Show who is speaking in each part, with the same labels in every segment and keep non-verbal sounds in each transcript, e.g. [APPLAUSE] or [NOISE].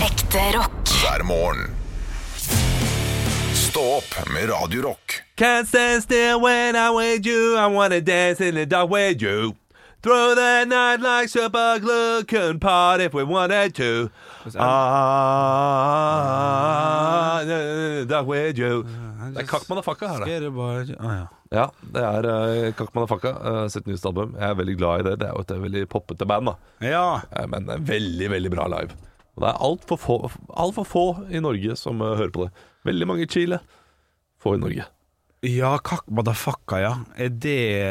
Speaker 1: Ekte rock.
Speaker 2: hver morgen. Stå opp med Radio Rock.
Speaker 3: Can't stand still when I'm with you. I wanna dance in the dark with you. Throw the night like super glue. Couldn't part if we wanted to. Ah, in the dark with you. Det er Kakk Motherfucka her, det.
Speaker 4: Dere bare ah, ja.
Speaker 3: Ja, det er eh, Kakk Motherfucka. eh, sitt nyeste album. Jeg er veldig glad i det. Det er jo et eh, veldig poppete band, da.
Speaker 4: ja.
Speaker 3: Eh, Men det er veldig, veldig bra live. Og det er altfor få, alt for få i Norge som eh, hører på det. Veldig mange i Chile. Få i Norge.
Speaker 4: Ja, kakk motherfucka, ja. Er det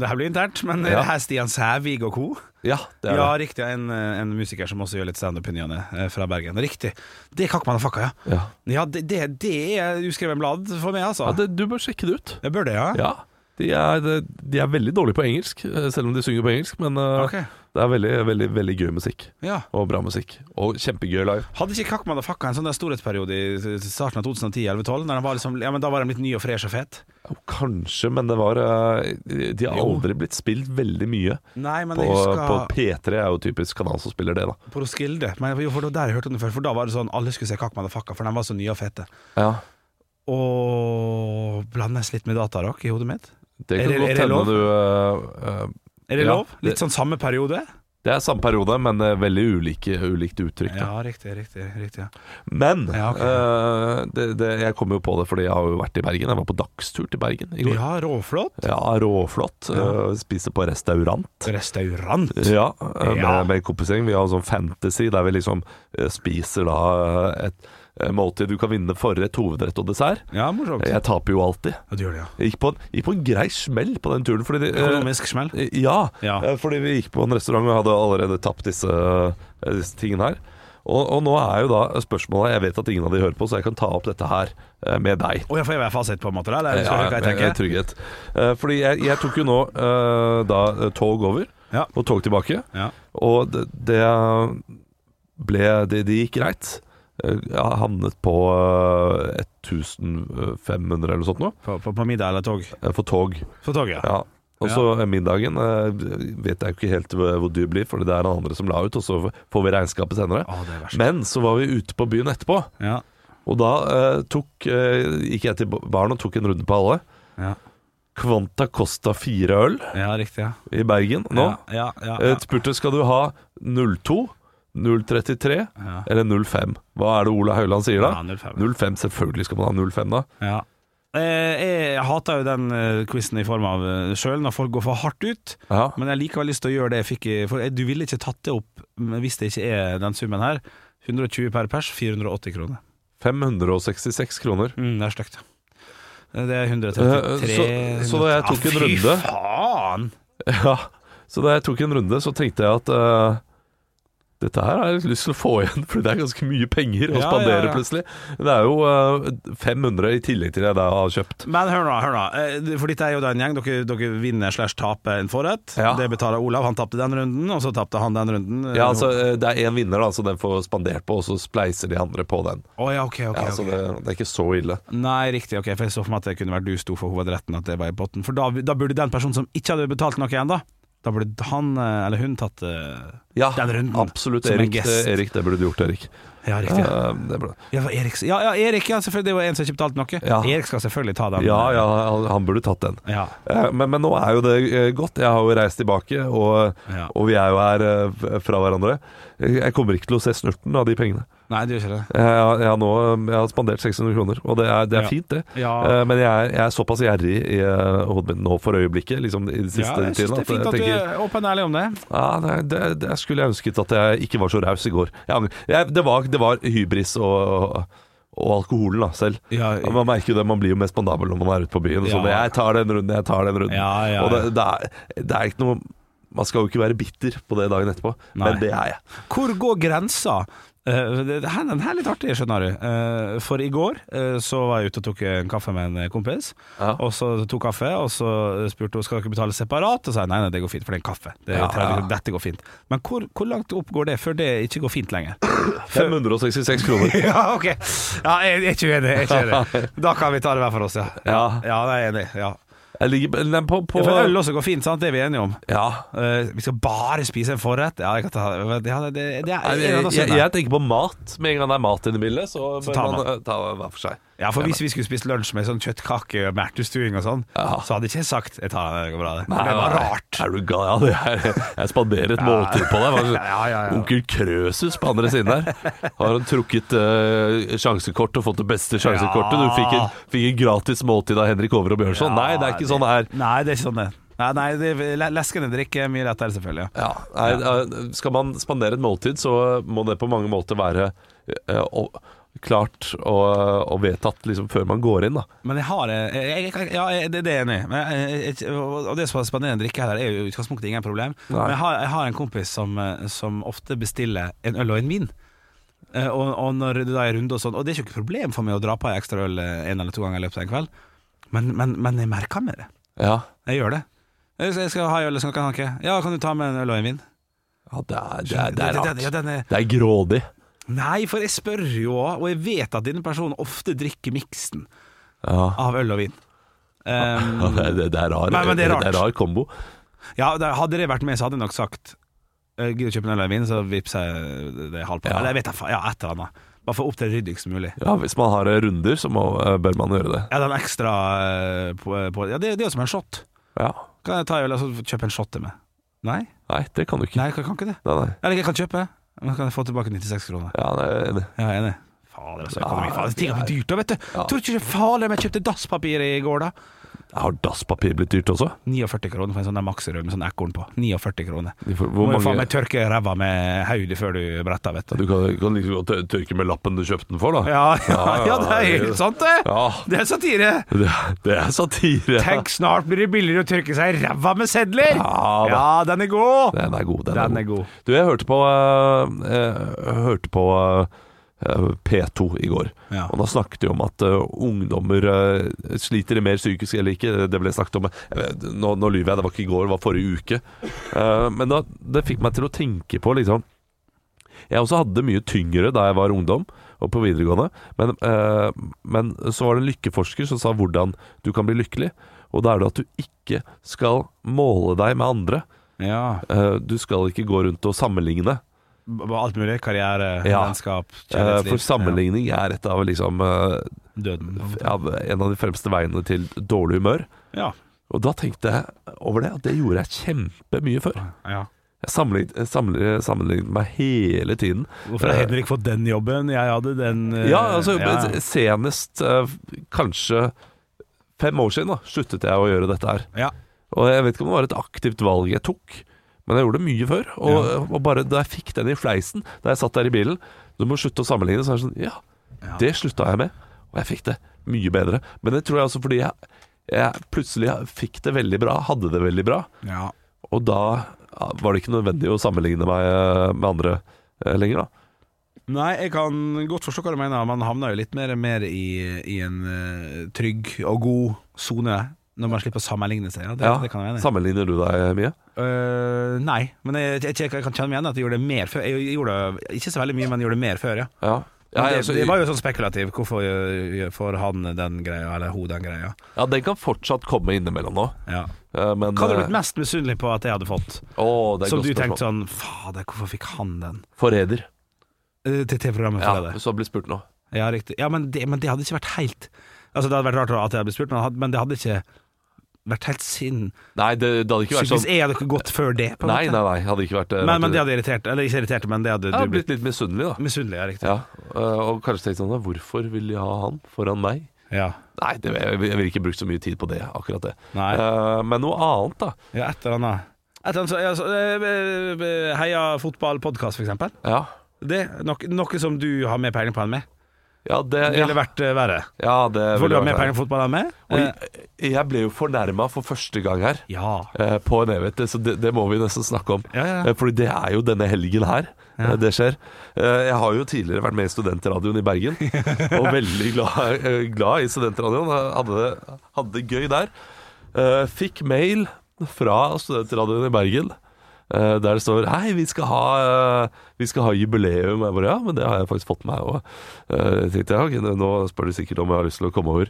Speaker 4: Det her blir internt, men er
Speaker 3: Ja.
Speaker 4: det her Stian Sævig og co.?
Speaker 3: Ja, det er
Speaker 4: Ja,
Speaker 3: det.
Speaker 4: riktig. En, en musiker som også gjør litt standup i ny og ne, eh, fra Bergen. Riktig. Det er kakk motherfucka, ja.
Speaker 3: Ja.
Speaker 4: Ja, det, det, det er uskreven blad for meg, altså.
Speaker 3: Ja, det, du bør sjekke det ut.
Speaker 4: Jeg bør det, ja.
Speaker 3: Ja, de er, de er veldig dårlige på engelsk, eh, selv om de synger på engelsk. Men eh,
Speaker 4: Ok.
Speaker 3: det er veldig, veldig, veldig gøy musikk.
Speaker 4: Ja.
Speaker 3: Og bra musikk. Og kjempegøy live.
Speaker 4: Hadde ikke Kakk Motherfucka en sånn der storhetsperiode i starten av 2010-2012? Liksom, ja, men da var de litt ny og fresh og fet?
Speaker 3: Jo, Kanskje, men det var eh, De har
Speaker 4: Jo.
Speaker 3: aldri blitt spilt veldig mye.
Speaker 4: Nei, men
Speaker 3: På,
Speaker 4: jeg husker
Speaker 3: på P3 er jo typisk kanal som spiller det, da.
Speaker 4: På Roskilde. Men jo, for det var der jeg hørte om det før, for da var det sånn alle skulle se Kakk Motherfucka, for de var så nye og fete.
Speaker 3: Ja,
Speaker 4: Og blandes litt med datarock i hodet mitt.
Speaker 3: Det
Speaker 4: Er
Speaker 3: kan
Speaker 4: det- er
Speaker 3: godt
Speaker 4: det
Speaker 3: hende
Speaker 4: lov?
Speaker 3: du eh, eh,
Speaker 4: Er det
Speaker 3: Ja,
Speaker 4: lov? Litt sånn samme periode?
Speaker 3: Det er samme periode, men eh, veldig ulike, ulikt uttrykk. da.
Speaker 4: Ja, riktig, riktig. riktig ja.
Speaker 3: Men
Speaker 4: Ja, ok.
Speaker 3: eh, det, det, jeg kom jo på det fordi jeg har jo vært i Bergen. Jeg var på dagstur til Bergen i går.
Speaker 4: ja, råflott.
Speaker 3: Ja, råflott. Eh, spise på restaurant.
Speaker 4: Restaurant.
Speaker 3: Ja, eh,
Speaker 4: Ja.
Speaker 3: med, med kompisgjeng. Vi har sånn fantasy der vi liksom eh, spiser da eh, et eh, måltid. Du kan vinne forrett, hovedrett og dessert.
Speaker 4: Ja, morsomt. Ja,
Speaker 3: Jeg taper jo alltid.
Speaker 4: du gjør det, ja.
Speaker 3: Jeg gikk på en, gikk på en grei smell på den turen. Fordi de, eh,
Speaker 4: Økonomisk smell.
Speaker 3: ja,
Speaker 4: Ja.
Speaker 3: eh, fordi vi gikk på en restaurant og hadde allerede tapt disse, eh, disse tingene her. Og, og nå er jo da spørsmålet Jeg vet at ingen av de hører på, så jeg kan ta opp dette her eh, med deg.
Speaker 4: Å ja, får jeg være fasit på en måte, da?
Speaker 3: Ja,
Speaker 4: Eller skal jeg høre hva
Speaker 3: jeg- jeg-
Speaker 4: jeg tenker?
Speaker 3: trygghet. Eh, Fordi jeg, jeg tok jo nå eh, da eh, tog over,
Speaker 4: Ja.
Speaker 3: og tog tilbake.
Speaker 4: Ja.
Speaker 3: Og det, det ble Det, det gikk greit. Eh, Jeg havnet på eh, 1500 eller noe sånt nå,
Speaker 4: På, på, på middag eller tog?
Speaker 3: eh, for tog.
Speaker 4: På toget, ja.
Speaker 3: Ja. Og så eh, middagen eh, vet jeg jo ikke helt hvor dyr blir, for det er den andre som la ut, og så får vi regnskapet senere.
Speaker 4: Å, det er verst.
Speaker 3: Men så var vi ute på byen etterpå,
Speaker 4: Ja.
Speaker 3: og da eh, tok, eh, gikk jeg til baren og tok en runde på alle.
Speaker 4: Ja.
Speaker 3: Kvanta Costa fire øl
Speaker 4: ja, riktig, ja.
Speaker 3: i Bergen nå.
Speaker 4: Ja, ja, ja,
Speaker 3: Eh, Spurte skal du ha 02, 033
Speaker 4: ja.
Speaker 3: eller 05. Hva er det Ola Høiland sier da?
Speaker 4: Ja, 05.
Speaker 3: 05, selvfølgelig skal man ha 05 da.
Speaker 4: Ja. Eh, Jeg hater jo den eh, quizen i form av eh, sjøl, når folk går for hardt ut.
Speaker 3: Ja.
Speaker 4: Men jeg har likevel lyst til å gjøre det jeg fikk i For jeg- du ville ikke tatt det opp men hvis det ikke er den summen her. 120 per pers, 480 kroner.
Speaker 3: 566 kroner. [LAUGHS]
Speaker 4: Mm, det er stygt. Det er
Speaker 3: Eh,
Speaker 4: 133
Speaker 3: så- så da jeg tok en runde-
Speaker 4: Fy faen!
Speaker 3: Ja. Så da jeg tok en runde, så tenkte jeg at eh, dette her har jeg litt lyst til å få igjen, [LAUGHS] for det er ganske mye penger å
Speaker 4: Ja,
Speaker 3: spandere
Speaker 4: ja, ja.
Speaker 3: plutselig. Det er jo eh, 500 i tillegg til det jeg da har kjøpt.
Speaker 4: Men hør nå, hør nå. Eh, For dette er jo da en gjeng. Dere, dere vinner slash taper en forrett.
Speaker 3: Ja.
Speaker 4: Det betaler Olav. Han tapte den runden, og så tapte han den runden.
Speaker 3: Ja, altså eh, Det er én vinner, da, så den får spandert på, og så spleiser de andre på den.
Speaker 4: Å ja, ok, ok.
Speaker 3: Ja, altså- Så
Speaker 4: ok.
Speaker 3: det, det er ikke så ille.
Speaker 4: Nei, riktig. ok For jeg så for meg at det kunne vært du sto for hovedretten, at det var i potten. For da, da burde den personen som ikke hadde betalt noe igjen, da Da burde han eh, eller hun tatt eh,
Speaker 3: Ja,
Speaker 4: Den runden,
Speaker 3: absolutt.
Speaker 4: som en
Speaker 3: Erik,
Speaker 4: gest.
Speaker 3: eh, Erik, det burde du gjort, Erik.
Speaker 4: Ja, riktig. Ja.
Speaker 3: Eh, det burde.
Speaker 4: Ja, for Erik, ja, ja, Erik ja, selvfølgelig. Det var en som ikke betalte noe.
Speaker 3: Ja.
Speaker 4: Erik skal selvfølgelig ta den.
Speaker 3: ja, ja han, han burde tatt den.
Speaker 4: ja.
Speaker 3: Eh, Men, men nå er jo det eh, godt. Jeg har jo reist tilbake, og,
Speaker 4: Ja.
Speaker 3: og vi er jo her eh, f- fra hverandre. Jeg kommer ikke til å se snurten av de pengene.
Speaker 4: Nei, du gjør ikke det.
Speaker 3: Jeg, har- jeg, har, nå, eh, jeg har spandert 600 kroner, og det er, det
Speaker 4: Ja.
Speaker 3: er fint, det.
Speaker 4: Ja.
Speaker 3: Eh, Men jeg er, jeg er såpass gjerrig i eh, hodet mitt nå for øyeblikket, liksom i den
Speaker 4: ja,
Speaker 3: siste
Speaker 4: jeg synes
Speaker 3: tiden,
Speaker 4: det er
Speaker 3: at
Speaker 4: fint
Speaker 3: jeg
Speaker 4: at du
Speaker 3: tenker
Speaker 4: er åpen og ærlig om det.
Speaker 3: ja, nei, det, det skulle jeg ønsket at jeg ikke var så raus i går. Jeg, angrer- jeg, det, var, det var hybris og, og alkoholen da, selv.
Speaker 4: Ja,
Speaker 3: Og man merker jo det, man blir jo mer spandabel når man er ute på byen.
Speaker 4: Ja.
Speaker 3: Sånn, jeg tar den runden, jeg tar den runden.
Speaker 4: Ja, ja,
Speaker 3: Og det, det, er, det er ikke noe Man skal jo ikke være bitter på det dagen etterpå,
Speaker 4: Nei.
Speaker 3: men det er jeg.
Speaker 4: Hvor går grensa? Eh, det, det her, den her er litt artig, skjønner du. Eh, for i går eh, så var jeg ute og tok en kaffe med en kompis.
Speaker 3: Ja.
Speaker 4: Og så tok kaffe, og så spurte hun skal dere betale separat. Og sa jeg, nei, nei, det går fint, for det er en kaffe. Det er
Speaker 3: Ja,
Speaker 4: 30,
Speaker 3: ja.
Speaker 4: Dette går fint. Men hvor, hvor langt opp går det før det ikke går fint lenger?
Speaker 3: 566 kroner.
Speaker 4: [LAUGHS] ja, ok.
Speaker 3: [LAUGHS]
Speaker 4: Ja, jeg, jeg er ikke uenig. Jeg er ikke uenig. Da kan vi ta det hver for oss, ja.
Speaker 3: Ja.
Speaker 4: ja jeg er enig. Ja.
Speaker 3: Jeg ligger nei, på, på
Speaker 4: Ja, for øl også går fint, sant? det er vi enige om.
Speaker 3: Ja.
Speaker 4: Eh, vi skal bare spise en forrett. Ja, jeg kan ta, ja det, det, det er
Speaker 3: Nei,
Speaker 4: det er
Speaker 3: jeg,
Speaker 4: noe
Speaker 3: jeg,
Speaker 4: sånt der.
Speaker 3: jeg tenker på mat. Med en gang det er mat inne i bildet, så,
Speaker 4: Så
Speaker 3: bør
Speaker 4: tar
Speaker 3: man
Speaker 4: man.
Speaker 3: eh, ta hver for seg.
Speaker 4: Ja, for Hvis vi skulle spist lunsj med sånn kjøttkake og mertestuing og sånn,
Speaker 3: Ja.
Speaker 4: så hadde ikke jeg sagt jeg tar den, det går bra, det. For det var rart.
Speaker 3: Er du gal? Ja, det er, jeg spanderer et måltid på deg. Hva slags-
Speaker 4: Ja, ja, ja.
Speaker 3: Onkel Krøsus på andre siden der. Har han trukket eh, sjansekort og fått det beste sjansekortet? Du fikk en, fikk en gratis måltid av Henrik Over og Bjørnson. Nei, det er ikke sånn det er.
Speaker 4: Nei, det er ikke sånn det. Nei, nei det, le- Leskende drikke er mye lettere, selvfølgelig.
Speaker 3: Ja,
Speaker 4: Ja.
Speaker 3: nei, eh, Skal man spandere et måltid, så må det på mange måter være eh, og, klart og, og vedtatt liksom, før man går inn. Da.
Speaker 4: Men jeg har eh, jeg, jeg, jeg, Ja, jeg, det, det er jeg enig i. Men eh, jeg- jeg- Og og det som er spanderende drikke her, er jo i utgangspunktet ingen problem.
Speaker 3: Nei.
Speaker 4: Men jeg har, jeg har en kompis som, eh, som ofte bestiller en øl og en vin. Eh, Og, og når du da er runde og sånn Og det er jo ikke et problem for meg å dra på en ekstra øl eh, en eller to ganger i løpet av en kveld, men, men, men jeg merker meg det.
Speaker 3: Ja.
Speaker 4: Jeg gjør det. Jeg skal- jeg skal ha en øl, skal kan han ikke Ja, kan du ta med en øl og en vin?
Speaker 3: det, er, det, er, det er
Speaker 4: Ja,
Speaker 3: rart.
Speaker 4: den er
Speaker 3: Det er grådig.
Speaker 4: Nei, for jeg spør jo òg, og jeg vet at denne personen ofte drikker miksen
Speaker 3: Ja.
Speaker 4: av øl og
Speaker 3: [LAUGHS]
Speaker 4: vin. Ehm,
Speaker 3: Ja, det, er- det er rar,
Speaker 4: Nei, men det er
Speaker 3: Det er
Speaker 4: rart.
Speaker 3: rar kombo.
Speaker 4: ja, da- hadde det vært med, så hadde jeg nok sagt «Eh, Gidder du kjøpe en øl og en vin, så vippser jeg det halvparten.
Speaker 3: Ja.
Speaker 4: Eller jeg vet da faen. Ja, et eller annet. Bare for å opptre ryddig som mulig.
Speaker 3: Ja, Hvis man har eh, runder, så må, eh, bør man gjøre det.
Speaker 4: Ja, den ekstra eh, på, på Ja, det, det er jo som en shot.
Speaker 3: Ja.
Speaker 4: Kan jeg ta en øl og så kjøpe en shot til meg? Nei,
Speaker 3: Nei, det kan du ikke.
Speaker 4: Nei jeg kan kan ikke det.
Speaker 3: Nei, nei.
Speaker 4: Eller jeg kan kjøpe, men så kan jeg få tilbake 96 kroner.
Speaker 3: Ja, nei, jeg er enig.
Speaker 4: Ja, jeg er enig. Fader, altså. Økonomi,
Speaker 3: Ja,
Speaker 4: fader. Ting er blitt dyrt, da, vet du.
Speaker 3: Ja.
Speaker 4: Tror du ikke det er farlig om jeg kjøpte dasspapir i går, da?
Speaker 3: Har dasspapir blitt dyrt også?
Speaker 4: 49 kroner for en sånn der Maxi-rød med sånn ekorn på. 49 kroner.
Speaker 3: De får-
Speaker 4: Må
Speaker 3: Hvor
Speaker 4: jo faen
Speaker 3: mange
Speaker 4: meg tørke ræva med hodet før du bretter, vet
Speaker 3: ja,
Speaker 4: du.
Speaker 3: Du kan, kan liksom godt tør- tørke med lappen du kjøpte den for, da.
Speaker 4: Ja, ja, [LAUGHS] ja, det er
Speaker 3: det-
Speaker 4: helt sant, det!
Speaker 3: Ja,
Speaker 4: Det er satire!
Speaker 3: det, det er satire.
Speaker 4: Tenk, snart blir det billigere å tørke seg i ræva med sedler!
Speaker 3: Ja, da.
Speaker 4: Ja, den er god!
Speaker 3: Den er god. Den,
Speaker 4: Den
Speaker 3: er
Speaker 4: er
Speaker 3: god.
Speaker 4: god.
Speaker 3: Du, jeg hørte på, eh, eh, hørte på eh, P2 i går,
Speaker 4: Ja.
Speaker 3: og da snakket de om at eh, ungdommer eh, sliter mer psykisk eller ikke. Det ble snakket om jeg vet, Nå, nå lyver jeg, det var ikke i går, det var forrige uke. Eh, men da, det fikk meg til å tenke på liksom Jeg også hadde det mye tyngre da jeg var ungdom og på videregående, men, eh, men så var det en lykkeforsker som sa hvordan du kan bli lykkelig. Og da er det at du ikke skal måle deg med andre.
Speaker 4: Ja.
Speaker 3: Eh, Du skal ikke gå rundt og sammenligne. Eh,
Speaker 4: B- Alt mulig. Karriere,
Speaker 3: Ja.
Speaker 4: vennskap,
Speaker 3: Eh,
Speaker 4: kjærlighetsliv.
Speaker 3: For sammenligning er et av liksom eh,
Speaker 4: Ja. Døden.
Speaker 3: ja, En av de fremste veiene til dårlig humør.
Speaker 4: Ja.
Speaker 3: Og da tenkte jeg over det, at det gjorde jeg kjempemye før.
Speaker 4: ja.
Speaker 3: Jeg sammenlignet, eh, sammenli- sammenlignet meg hele tiden. Eh,
Speaker 4: Hvorfor har Henrik fått den jobben? Jeg hadde den eh,
Speaker 3: Ja, altså
Speaker 4: ja.
Speaker 3: senest eh, kanskje fem år siden da, sluttet jeg å gjøre dette her.
Speaker 4: Ja.
Speaker 3: Og jeg vet ikke om det var et aktivt valg jeg tok, men jeg gjorde det mye før. Og, eh, og bare da jeg fikk den i fleisen, da jeg satt der i bilen Du må slutte å sammenligne, så er det sånn Ja,
Speaker 4: Ja.
Speaker 3: det slutta jeg med. Og jeg fikk det mye bedre. Men det tror jeg også fordi jeg, jeg plutselig fikk det veldig bra, hadde det veldig bra.
Speaker 4: ja.
Speaker 3: Og da ja, var det ikke nødvendig å sammenligne meg eh, med andre eh, lenger, da.
Speaker 4: Nei, jeg kan godt forstå hva du mener. Man havner jo litt mer, mer i, i en eh, trygg og god sone når man slipper å sammenligne seg. Ja, det,
Speaker 3: Ja,
Speaker 4: det kan jeg være enig i.
Speaker 3: Sammenligner du deg mye?
Speaker 4: Øh, nei, men jeg, jeg, jeg, kan kjenne meg igjen at jeg gjorde det mer før. Jeg gjorde det ikke så veldig mye, men jeg gjorde det mer før, ja.
Speaker 3: Ja.
Speaker 4: Men
Speaker 3: Ja,
Speaker 4: det,
Speaker 3: altså,
Speaker 4: det var jo sånn spekulativ. Hvorfor gjør- får han den greia, eller hun den greia?
Speaker 3: ja, den kan fortsatt komme innimellom nå.
Speaker 4: Ja.
Speaker 3: eh, Men
Speaker 4: Hva hadde du
Speaker 3: eh,
Speaker 4: blitt mest misunnelig på at jeg hadde fått?
Speaker 3: å, det er et
Speaker 4: Som
Speaker 3: godt
Speaker 4: du
Speaker 3: spørsmål.
Speaker 4: tenkte sånn Fader, hvorfor fikk han den?
Speaker 3: Forræder.
Speaker 4: Eh, Til TV-programmet
Speaker 3: Ja,
Speaker 4: for det.
Speaker 3: hvis du har blitt spurt nå.
Speaker 4: Ja, riktig. Ja, men det, men det hadde ikke vært helt Altså, det hadde vært rart at jeg hadde blitt spurt, men, det hadde- men det hadde ikke vært helt sinn
Speaker 3: Nei, det, det hadde ikke vært
Speaker 4: Hvis
Speaker 3: sånn.
Speaker 4: jeg hadde ikke gått før det, på en
Speaker 3: Nei,
Speaker 4: måte.
Speaker 3: nei, nei, hadde ikke vært eh,
Speaker 4: Men, men
Speaker 3: vært-
Speaker 4: det hadde irritert Eller ikke irritert, men det hadde
Speaker 3: Jeg
Speaker 4: du
Speaker 3: hadde
Speaker 4: blitt
Speaker 3: blitt litt misunnelig, da.
Speaker 4: misunnelig, ja, riktig.
Speaker 3: Ja, øh, og kanskje tenkt sånn Hvorfor vil de ha han foran meg?
Speaker 4: Ja.
Speaker 3: Nei, det, jeg, jeg vil ikke bruke så mye tid på det, akkurat det.
Speaker 4: Nei.
Speaker 3: Eh, men noe annet, da.
Speaker 4: ja, et eller annet. Et eller annet så, ja, så, eh, eh, heia fotball-podkast, for eksempel.
Speaker 3: Ja,
Speaker 4: Det, noe, noe som du har mer peiling på enn meg.
Speaker 3: ja det
Speaker 4: Det
Speaker 3: ja.
Speaker 4: ville vært eh, verre.
Speaker 3: ja, det
Speaker 4: For du har
Speaker 3: vært
Speaker 4: mer
Speaker 3: det.
Speaker 4: peiling på fotball enn meg?
Speaker 3: Og
Speaker 4: Eh,
Speaker 3: jeg, jeg ble jo fornærma for første gang her,
Speaker 4: Ja.
Speaker 3: eh, på en evighet. Så det, det må vi nesten snakke om.
Speaker 4: Ja, ja, ja.
Speaker 3: Eh, Fordi det er jo denne helgen her eh, det skjer. Eh, Jeg har jo tidligere vært med i studentradioen i
Speaker 4: [LAUGHS]
Speaker 3: Bergen, og veldig glad, eh, glad i studentradioen. Jeg Hadde, det- hadde det gøy der. Eh, Fikk mail fra studentradioen i Bergen. eh, Der det står 'Hei, vi skal ha, eh, vi skal ha jubileum'. Jeg bare, ja, men det har jeg faktisk fått med meg òg. Jeg Eh, tenkte, ja, ok, nå spør du sikkert om jeg har lyst til å komme over.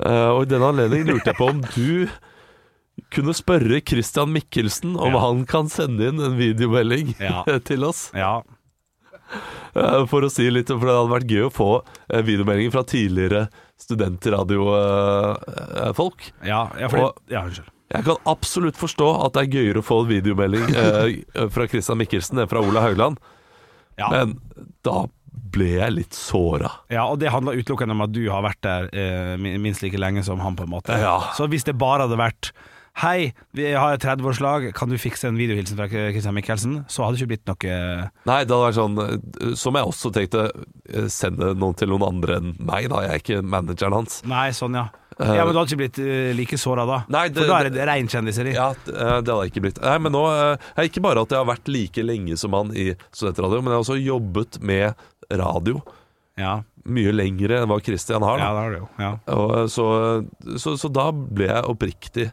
Speaker 3: Eh, Og i den anledning lurte jeg på om du kunne spørre Christian Mikkelsen om
Speaker 4: Ja.
Speaker 3: han kan sende inn en videomelding
Speaker 4: Ja.
Speaker 3: [LAUGHS] til oss.
Speaker 4: Ja.
Speaker 3: eh, For å si litt, for det hadde vært gøy å få eh, videomeldinger fra tidligere studentradiofolk.
Speaker 4: Ja, ja, fordi,
Speaker 3: Og-
Speaker 4: ja, unnskyld.
Speaker 3: Jeg kan absolutt forstå at det er gøyere å få en videomelding eh, fra Christian Mikkelsen enn fra Ola Haugland,
Speaker 4: Ja.
Speaker 3: men da ble jeg litt såra.
Speaker 4: ja, og det handler utelukkende om at du har vært der eh, min- minst like lenge som han, på en måte.
Speaker 3: Ja.
Speaker 4: Så hvis det bare hadde vært Hei, vi har et 30-årslag, kan du fikse en videohilsen fra Christian Michelsen? Så hadde det ikke blitt noe
Speaker 3: Nei, det hadde vært sånn eh, Som jeg også tenkte, eh, sende noen til noen andre enn meg, da. Jeg er ikke manageren hans.
Speaker 4: Nei, sånn, ja. Ja, Men du hadde ikke blitt eh, like såra da?
Speaker 3: Nei, det-
Speaker 4: For da er det rein kjendiseri.
Speaker 3: Ja, det eh, det hadde jeg ikke blitt. Nei, men nå eh, er Ikke bare at jeg har vært like lenge som han i studentradio, men jeg har også jobbet med radio
Speaker 4: Ja.
Speaker 3: mye lengre enn hva Christian har.
Speaker 4: Ja,
Speaker 3: Da.
Speaker 4: det har du jo. Ja.
Speaker 3: Og, eh, så, så, så da ble jeg oppriktig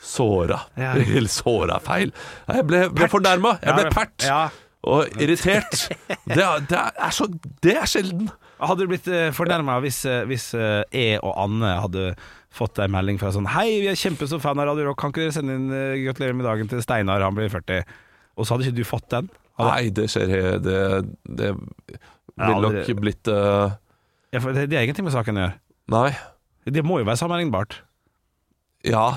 Speaker 3: såra.
Speaker 4: Ja.
Speaker 3: [LAUGHS] Eller såra er feil. Nei, Jeg ble, ble fornærma. Jeg ble pert.
Speaker 4: Ja.
Speaker 3: Og irritert. Det, er- det, er så, det er sjelden.
Speaker 4: Hadde du blitt fornærma hvis, eh, hvis eh, jeg og Anne hadde fått ei melding fra sånn Hei, vi er kjempestor fan av Radio Rock, kan ikke dere sende inn eh, 'Gratulerer med dagen' til Steinar, han blir 40? Og så hadde ikke du fått den? Hadde,
Speaker 3: Nei, det skjer he- Det, det ville
Speaker 4: aldri-
Speaker 3: nok blitt eh,
Speaker 4: ja, for det, det er ingenting med saken å gjøre.
Speaker 3: Nei.
Speaker 4: Det må jo være sammenlignbart.
Speaker 3: Ja,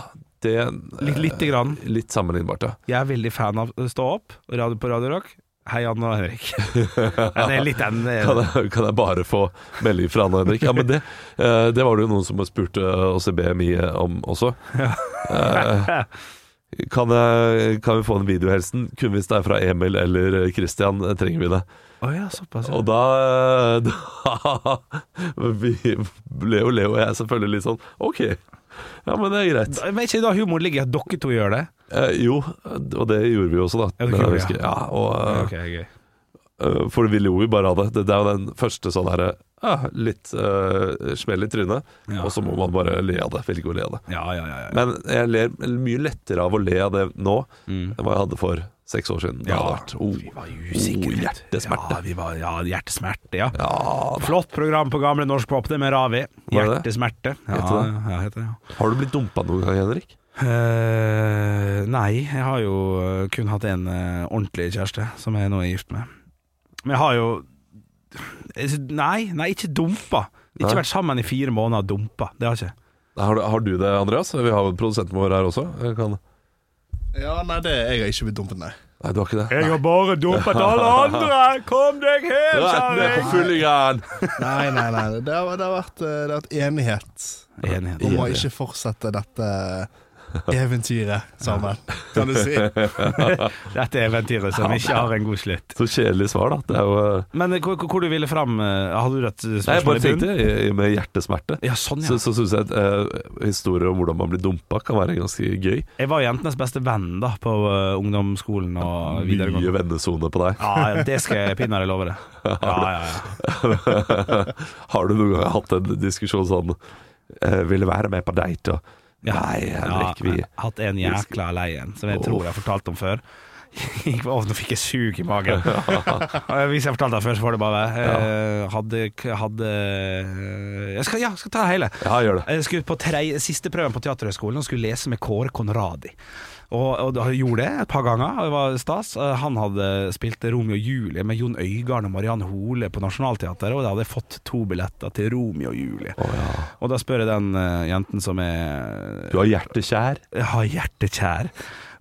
Speaker 3: det
Speaker 4: Litt,
Speaker 3: Eh.
Speaker 4: lite grann.
Speaker 3: Litt sammenlignbart, ja.
Speaker 4: Jeg er veldig fan av eh, Stå opp, radio på Radio Rock. Hei, Anne og Henrik.
Speaker 3: [LAUGHS]
Speaker 4: Ja, det er litt den eh,
Speaker 3: Kan jeg, kan jeg bare få melding fra Anne Henrik? Ja, men det, eh, det var det jo noen som spurte oss i BMI om også. Eh, Kan, jeg, kan vi få en videohelsen? Kun hvis det er fra Emil eller Christian, eh, trenger vi det.
Speaker 4: [LAUGHS] Å ja, såpass. Ja.
Speaker 3: Og da, eh, [LAUGHS] da vi, Leo, Leo og jeg selvfølgelig litt sånn OK, ja, men det er greit.
Speaker 4: Men er ikke da humoren ligger i at dere to gjør det?
Speaker 3: Eh, jo, og det gjorde vi jo også, da.
Speaker 4: Ja, det
Speaker 3: Men jeg
Speaker 4: gjorde vi,
Speaker 3: husker-
Speaker 4: ja.
Speaker 3: ja, og, eh,
Speaker 4: Ok, gøy.
Speaker 3: Eh, For vi lo jo bare av det. Det, det er jo den første sånn herre ah, Litt eh, smell i trynet,
Speaker 4: Ja.
Speaker 3: og så må man bare le av det. Velge å le av det.
Speaker 4: Ja, ja, ja. ja.
Speaker 3: Men jeg ler mye lettere av å le av det nå
Speaker 4: Mm.
Speaker 3: enn hva jeg hadde for seks år siden. Det
Speaker 4: Ja.
Speaker 3: hadde vært oh,
Speaker 4: Vi var usikre.
Speaker 3: oh, hjertesmerte.
Speaker 4: Ja, vi var, ja hjertesmerte, ja.
Speaker 3: Ja,
Speaker 4: Flott program på gamle norsk pop, det med Ravi.
Speaker 3: Var det det?
Speaker 4: Hjertesmerte. Ja,
Speaker 3: Heter det?
Speaker 4: Ja, heter det, ja.
Speaker 3: Har du blitt dumpa noen gang, Henrik?
Speaker 4: Eh, nei, jeg har jo eh, kun hatt en eh, ordentlig kjæreste, som jeg nå er gift med. Men jeg har jo Jeg sy- Nei, nei ikke dumpa. Ikke
Speaker 3: Nei.
Speaker 4: vært sammen i fire måneder og dumpa. Det har jeg ikke.
Speaker 3: Har du, har du det, Andreas? Vi har jo produsenten vår her også. Jeg Kan...
Speaker 1: Ja, nei, det er jeg ikke blitt dumpet, nei.
Speaker 3: Nei, du har ikke det?
Speaker 4: Jeg har bare dumpet alle andre! Kom deg hjem,
Speaker 3: fullingan!
Speaker 1: Nei, nei, nei. Det har, det har, vært, eh, det har vært enighet
Speaker 4: Enighet.
Speaker 1: om å
Speaker 3: Enighet.
Speaker 1: ikke fortsette dette eventyret sammen, kan du
Speaker 3: [LAUGHS]
Speaker 1: si.
Speaker 4: Dette er eventyret som ikke har en god slutt.
Speaker 3: Så kjedelig svar, da. Det er jo eh,
Speaker 4: Men eh, hvor, hvor- hvor du ville fram eh, Hadde du et
Speaker 3: Nei, jeg
Speaker 4: spørsmål
Speaker 3: bare
Speaker 4: i bunnen?
Speaker 3: tenkte i- i- med hjertesmerte.
Speaker 4: Ja, sånn, ja.
Speaker 3: Så, så syns jeg at eh, historier om hvordan man blir dumpa, kan være ganske gøy.
Speaker 4: Jeg var jentenes beste venn da på eh, ungdomsskolen og videregående.
Speaker 3: Mye vennesone på deg. [LAUGHS]
Speaker 4: Ja, ja, det skal jeg pinadø love deg. Ja, ja, ja.
Speaker 3: Har du noen gang hatt en diskusjon sånn eh, 'Ville være med på date', og
Speaker 4: Ja.
Speaker 3: Nei, Henrik,
Speaker 4: Ja,
Speaker 3: vi
Speaker 4: jeg har Hatt en jækla lei en, som jeg tror jeg har fortalt om før. Gikk på ovnen og fikk jeg sug i
Speaker 3: [LAUGHS]
Speaker 4: magen. Og Hvis jeg har fortalt det før, så får det bare være. Eh, Hadde, hadde eh, Jeg skal, ja, jeg skal ta hele.
Speaker 3: Ja, gjør det.
Speaker 4: Jeg skulle på tre, siste prøven på Teaterhøgskolen og skulle lese med Kåre Conradi. Og, og da gjorde det et par ganger, og det var stas. Eh, Han hadde spilt Romeo og Julie med Jon Øigarden og Mariann Hole på Nationaltheatret, og da hadde jeg fått to billetter til Romeo og Julie. Og da spør jeg den eh, jenten som er
Speaker 3: Du har hjertet kjær.
Speaker 4: jeg har hjertet kjær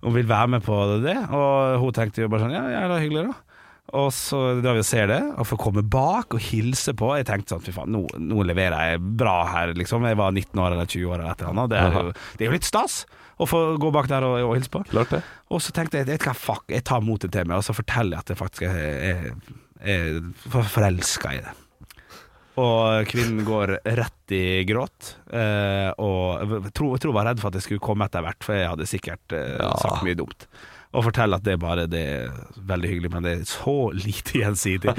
Speaker 4: og vil være med på det. Og hun tenkte jo bare sånn Ja, ja, det er hyggelig, da. Og så drar vi og ser det, og får komme bak og hilse på. Jeg tenkte sånn fy faen, nå, nå leverer jeg bra her, liksom. Jeg var 19 år eller 20 år eller et eller annet. Det er jo, det er jo litt stas å få gå bak der og, og hilse på.
Speaker 3: Klart det.
Speaker 4: Og så tenkte jeg vet du hva, fuck, jeg tar motet til meg, og så forteller jeg at jeg faktisk er, er, er forelska i det. Og kvinnen går rett i gråt. Eh, og jeg tror, jeg tror jeg var redd for at jeg skulle komme etter hvert, for jeg hadde sikkert eh,
Speaker 3: Ja.
Speaker 4: sagt mye dumt. Og fortelle at det er bare det er veldig hyggelig, men det er så lite gjensidig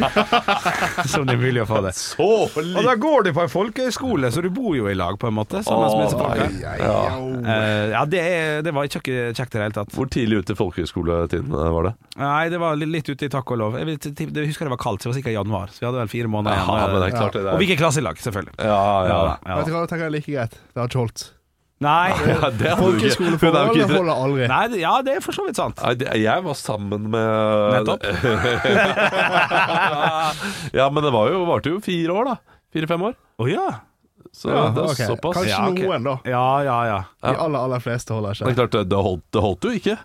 Speaker 4: [LAUGHS] som det er mulig å få det.
Speaker 3: Så
Speaker 4: Og da går du på en folkehøyskole, så du bor jo i lag, på en måte. Sammen med disse folka. Eh, ja, det, er- det var ikke kjekt i det hele tatt.
Speaker 3: Hvor tidlig ute i folkehøyskoletiden eh, var det?
Speaker 4: Nei, det var li- litt ute i takk og lov. Jeg, vet, jeg tipp- jeg husker det var kaldt, så det var sikkert januar. Så vi hadde vel fire måneder igjen. eh,
Speaker 3: men det er klart det
Speaker 4: Og vi
Speaker 3: der.
Speaker 4: gikk i klasse i lag, selvfølgelig.
Speaker 3: Ja, ja,
Speaker 4: Ja,
Speaker 3: ja.
Speaker 4: ja.
Speaker 1: Vet du hva, da tenker jeg like greit. Det har ikke holdt.
Speaker 4: Nei,
Speaker 3: Ja, det hadde du ikke. Hun er jo
Speaker 1: Folkeskoleforholdet
Speaker 3: ikke
Speaker 1: holder aldri.
Speaker 4: nei det- ja, det er for så vidt sant.
Speaker 3: Nei, det, jeg var sammen med
Speaker 4: Nettopp.
Speaker 3: [LAUGHS] ja, men det var jo, varte jo fire år, da. Fire-fem år.
Speaker 4: Å ja.
Speaker 3: Så
Speaker 1: Ja,
Speaker 3: det er
Speaker 1: ok.
Speaker 3: såpass.
Speaker 1: Kanskje
Speaker 3: Ja, ok.
Speaker 1: noen, da.
Speaker 4: Ja, ja, ja.
Speaker 1: De aller, aller fleste holder
Speaker 3: Men
Speaker 1: ikke.
Speaker 3: klart, det, det, holdt, det holdt jo ikke.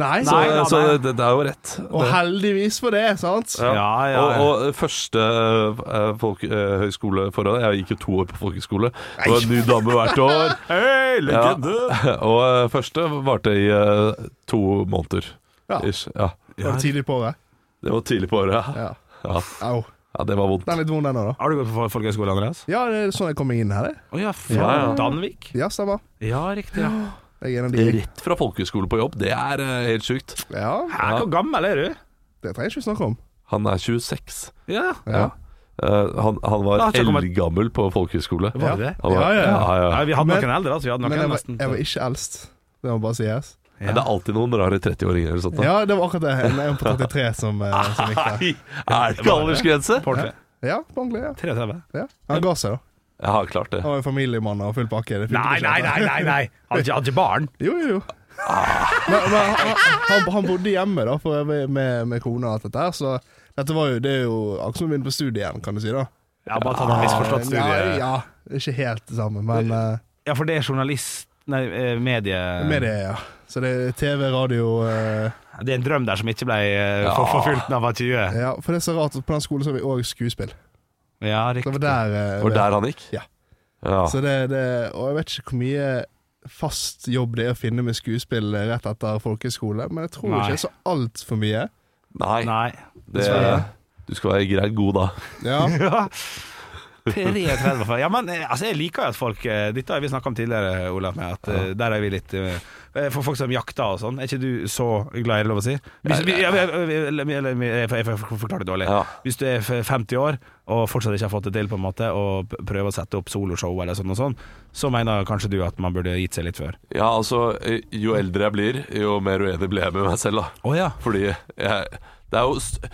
Speaker 1: Nei,
Speaker 3: Så,
Speaker 1: så,
Speaker 4: nei,
Speaker 3: så
Speaker 4: nei.
Speaker 3: det, det er jo rett.
Speaker 1: og heldigvis for det, sant?
Speaker 3: Ja.
Speaker 4: Ja, ja, ja.
Speaker 3: Og, og første eh, folk, eh, høyskoleforhold Jeg gikk jo to år på folkeskole. Det var en ny dame hvert år.
Speaker 4: Hei,
Speaker 3: Ja. [LAUGHS] Og eh, første varte i eh, to måneder.
Speaker 1: Ja.
Speaker 3: Ish. Ja.
Speaker 1: Det var tidlig på året.
Speaker 3: Det var tidlig på året. Ja.
Speaker 1: Ja.
Speaker 3: Ja.
Speaker 1: Au.
Speaker 3: ja, det var vondt.
Speaker 1: Den er litt vond, den òg, da.
Speaker 4: Har du gått på folkehøyskole, Andreas?
Speaker 1: Ja, det er sånn jeg kom inn her, det.
Speaker 4: Å ja, fra
Speaker 3: Ja, ja.
Speaker 4: Danvik.
Speaker 1: Ja, stemmer.
Speaker 4: Ja, riktig. Ja.
Speaker 1: Jeg er en av de.
Speaker 3: Rett fra folkeskole på jobb, det er eh, helt sjukt.
Speaker 1: Ja,
Speaker 4: Hæ, hvor gammel er du?
Speaker 1: det trenger jeg ikke snakke om.
Speaker 3: Han er 26.
Speaker 4: Ja,
Speaker 1: Ja.
Speaker 3: Eh, han, han var
Speaker 4: Da har han ikke kommet-
Speaker 3: eldgammel på folkehøyskole.
Speaker 4: var det det?
Speaker 3: Han var-
Speaker 1: Ja, ja, ja.
Speaker 3: ja,
Speaker 4: Nei, vi hadde
Speaker 1: Men-
Speaker 4: noen eldre, altså. Vi hadde
Speaker 1: Men
Speaker 4: noen
Speaker 1: jeg var,
Speaker 4: nesten.
Speaker 1: jeg var ikke eldst. Det må bare sies.
Speaker 3: Ja. Det er alltid noen rare 30-åringer eller sånt. da.
Speaker 1: Ja, det var akkurat det. En en på 33 som, eh, som gikk
Speaker 4: [LAUGHS]
Speaker 1: der.
Speaker 3: Nei, er det ikke aldersgrense?
Speaker 4: Portrait.
Speaker 1: Ja, på ordentlig. Ja.
Speaker 4: 33.
Speaker 1: Ja. Han ga seg, da.
Speaker 3: Jeg har klart det.
Speaker 1: Han var en familiemann og full pakke. Det funket
Speaker 4: Nei,
Speaker 1: ikke,
Speaker 4: nei, nei,
Speaker 1: dette.
Speaker 4: nei, nei. Hadde ikke- hadde ikke barn.
Speaker 1: Jo, jo, jo. Men, men han, han, han bodde hjemme da for, øvrig med, med kona og alt dette her, så dette var jo, det er jo akkurat som å begynne på studiet igjen, kan du si. da
Speaker 4: Jeg har bare tatt en misforstått
Speaker 1: Ja,
Speaker 4: studie.
Speaker 1: ja, ikke helt det samme, men eh,
Speaker 4: Ja, for det er journalist... Nei, eh, medie...
Speaker 1: med det, ja. Så det er TV, radio eh,
Speaker 4: Det er en drøm der som ikke ble eh, for- forfulgt da jeg var 20.
Speaker 1: Ja, for det er så rart, at på den skolen så har vi òg skuespill.
Speaker 4: Ja,
Speaker 1: Det
Speaker 4: riktig.
Speaker 1: var der. eh,
Speaker 3: Var det der han gikk?
Speaker 1: Ja.
Speaker 3: Ja.
Speaker 4: Ah.
Speaker 1: Så det, det, og jeg vet ikke hvor mye fast jobb det er å finne med skuespill rett etter folkehøyskole, men jeg tror
Speaker 4: Nei.
Speaker 1: ikke det er så altfor mye.
Speaker 3: Nei,
Speaker 4: Nei.
Speaker 3: det, du skal være greit god da.
Speaker 1: Ja,
Speaker 4: Ja. 33 for- Ja, men eh, altså, jeg liker jo at folk eh, Dette har vi snakka om tidligere, Olav. Med at, eh, Der er vi litt eh, For folk som jakter og sånn. Er ikke du så glad i det, lov å si? Hvis, vi- ja, vi- eller- eller- jeg får- jeg får forklare det dårlig.
Speaker 3: Ja.
Speaker 4: Hvis du er f- 50 år og fortsatt ikke har fått det til, på en måte og p- prøver å sette opp soloshow eller sånn og sånn, så mener kanskje du at man burde gitt seg litt før.
Speaker 3: Ja, altså, eh, jo eldre jeg blir, jo mer uenig blir jeg med meg selv da.
Speaker 4: Å ja.
Speaker 3: Fordi jeg, det er jo st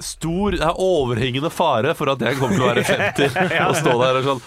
Speaker 3: stor, det er overhengende fare for at jeg kommer til å være
Speaker 4: [LAUGHS]
Speaker 3: 50 og stå der og sånn,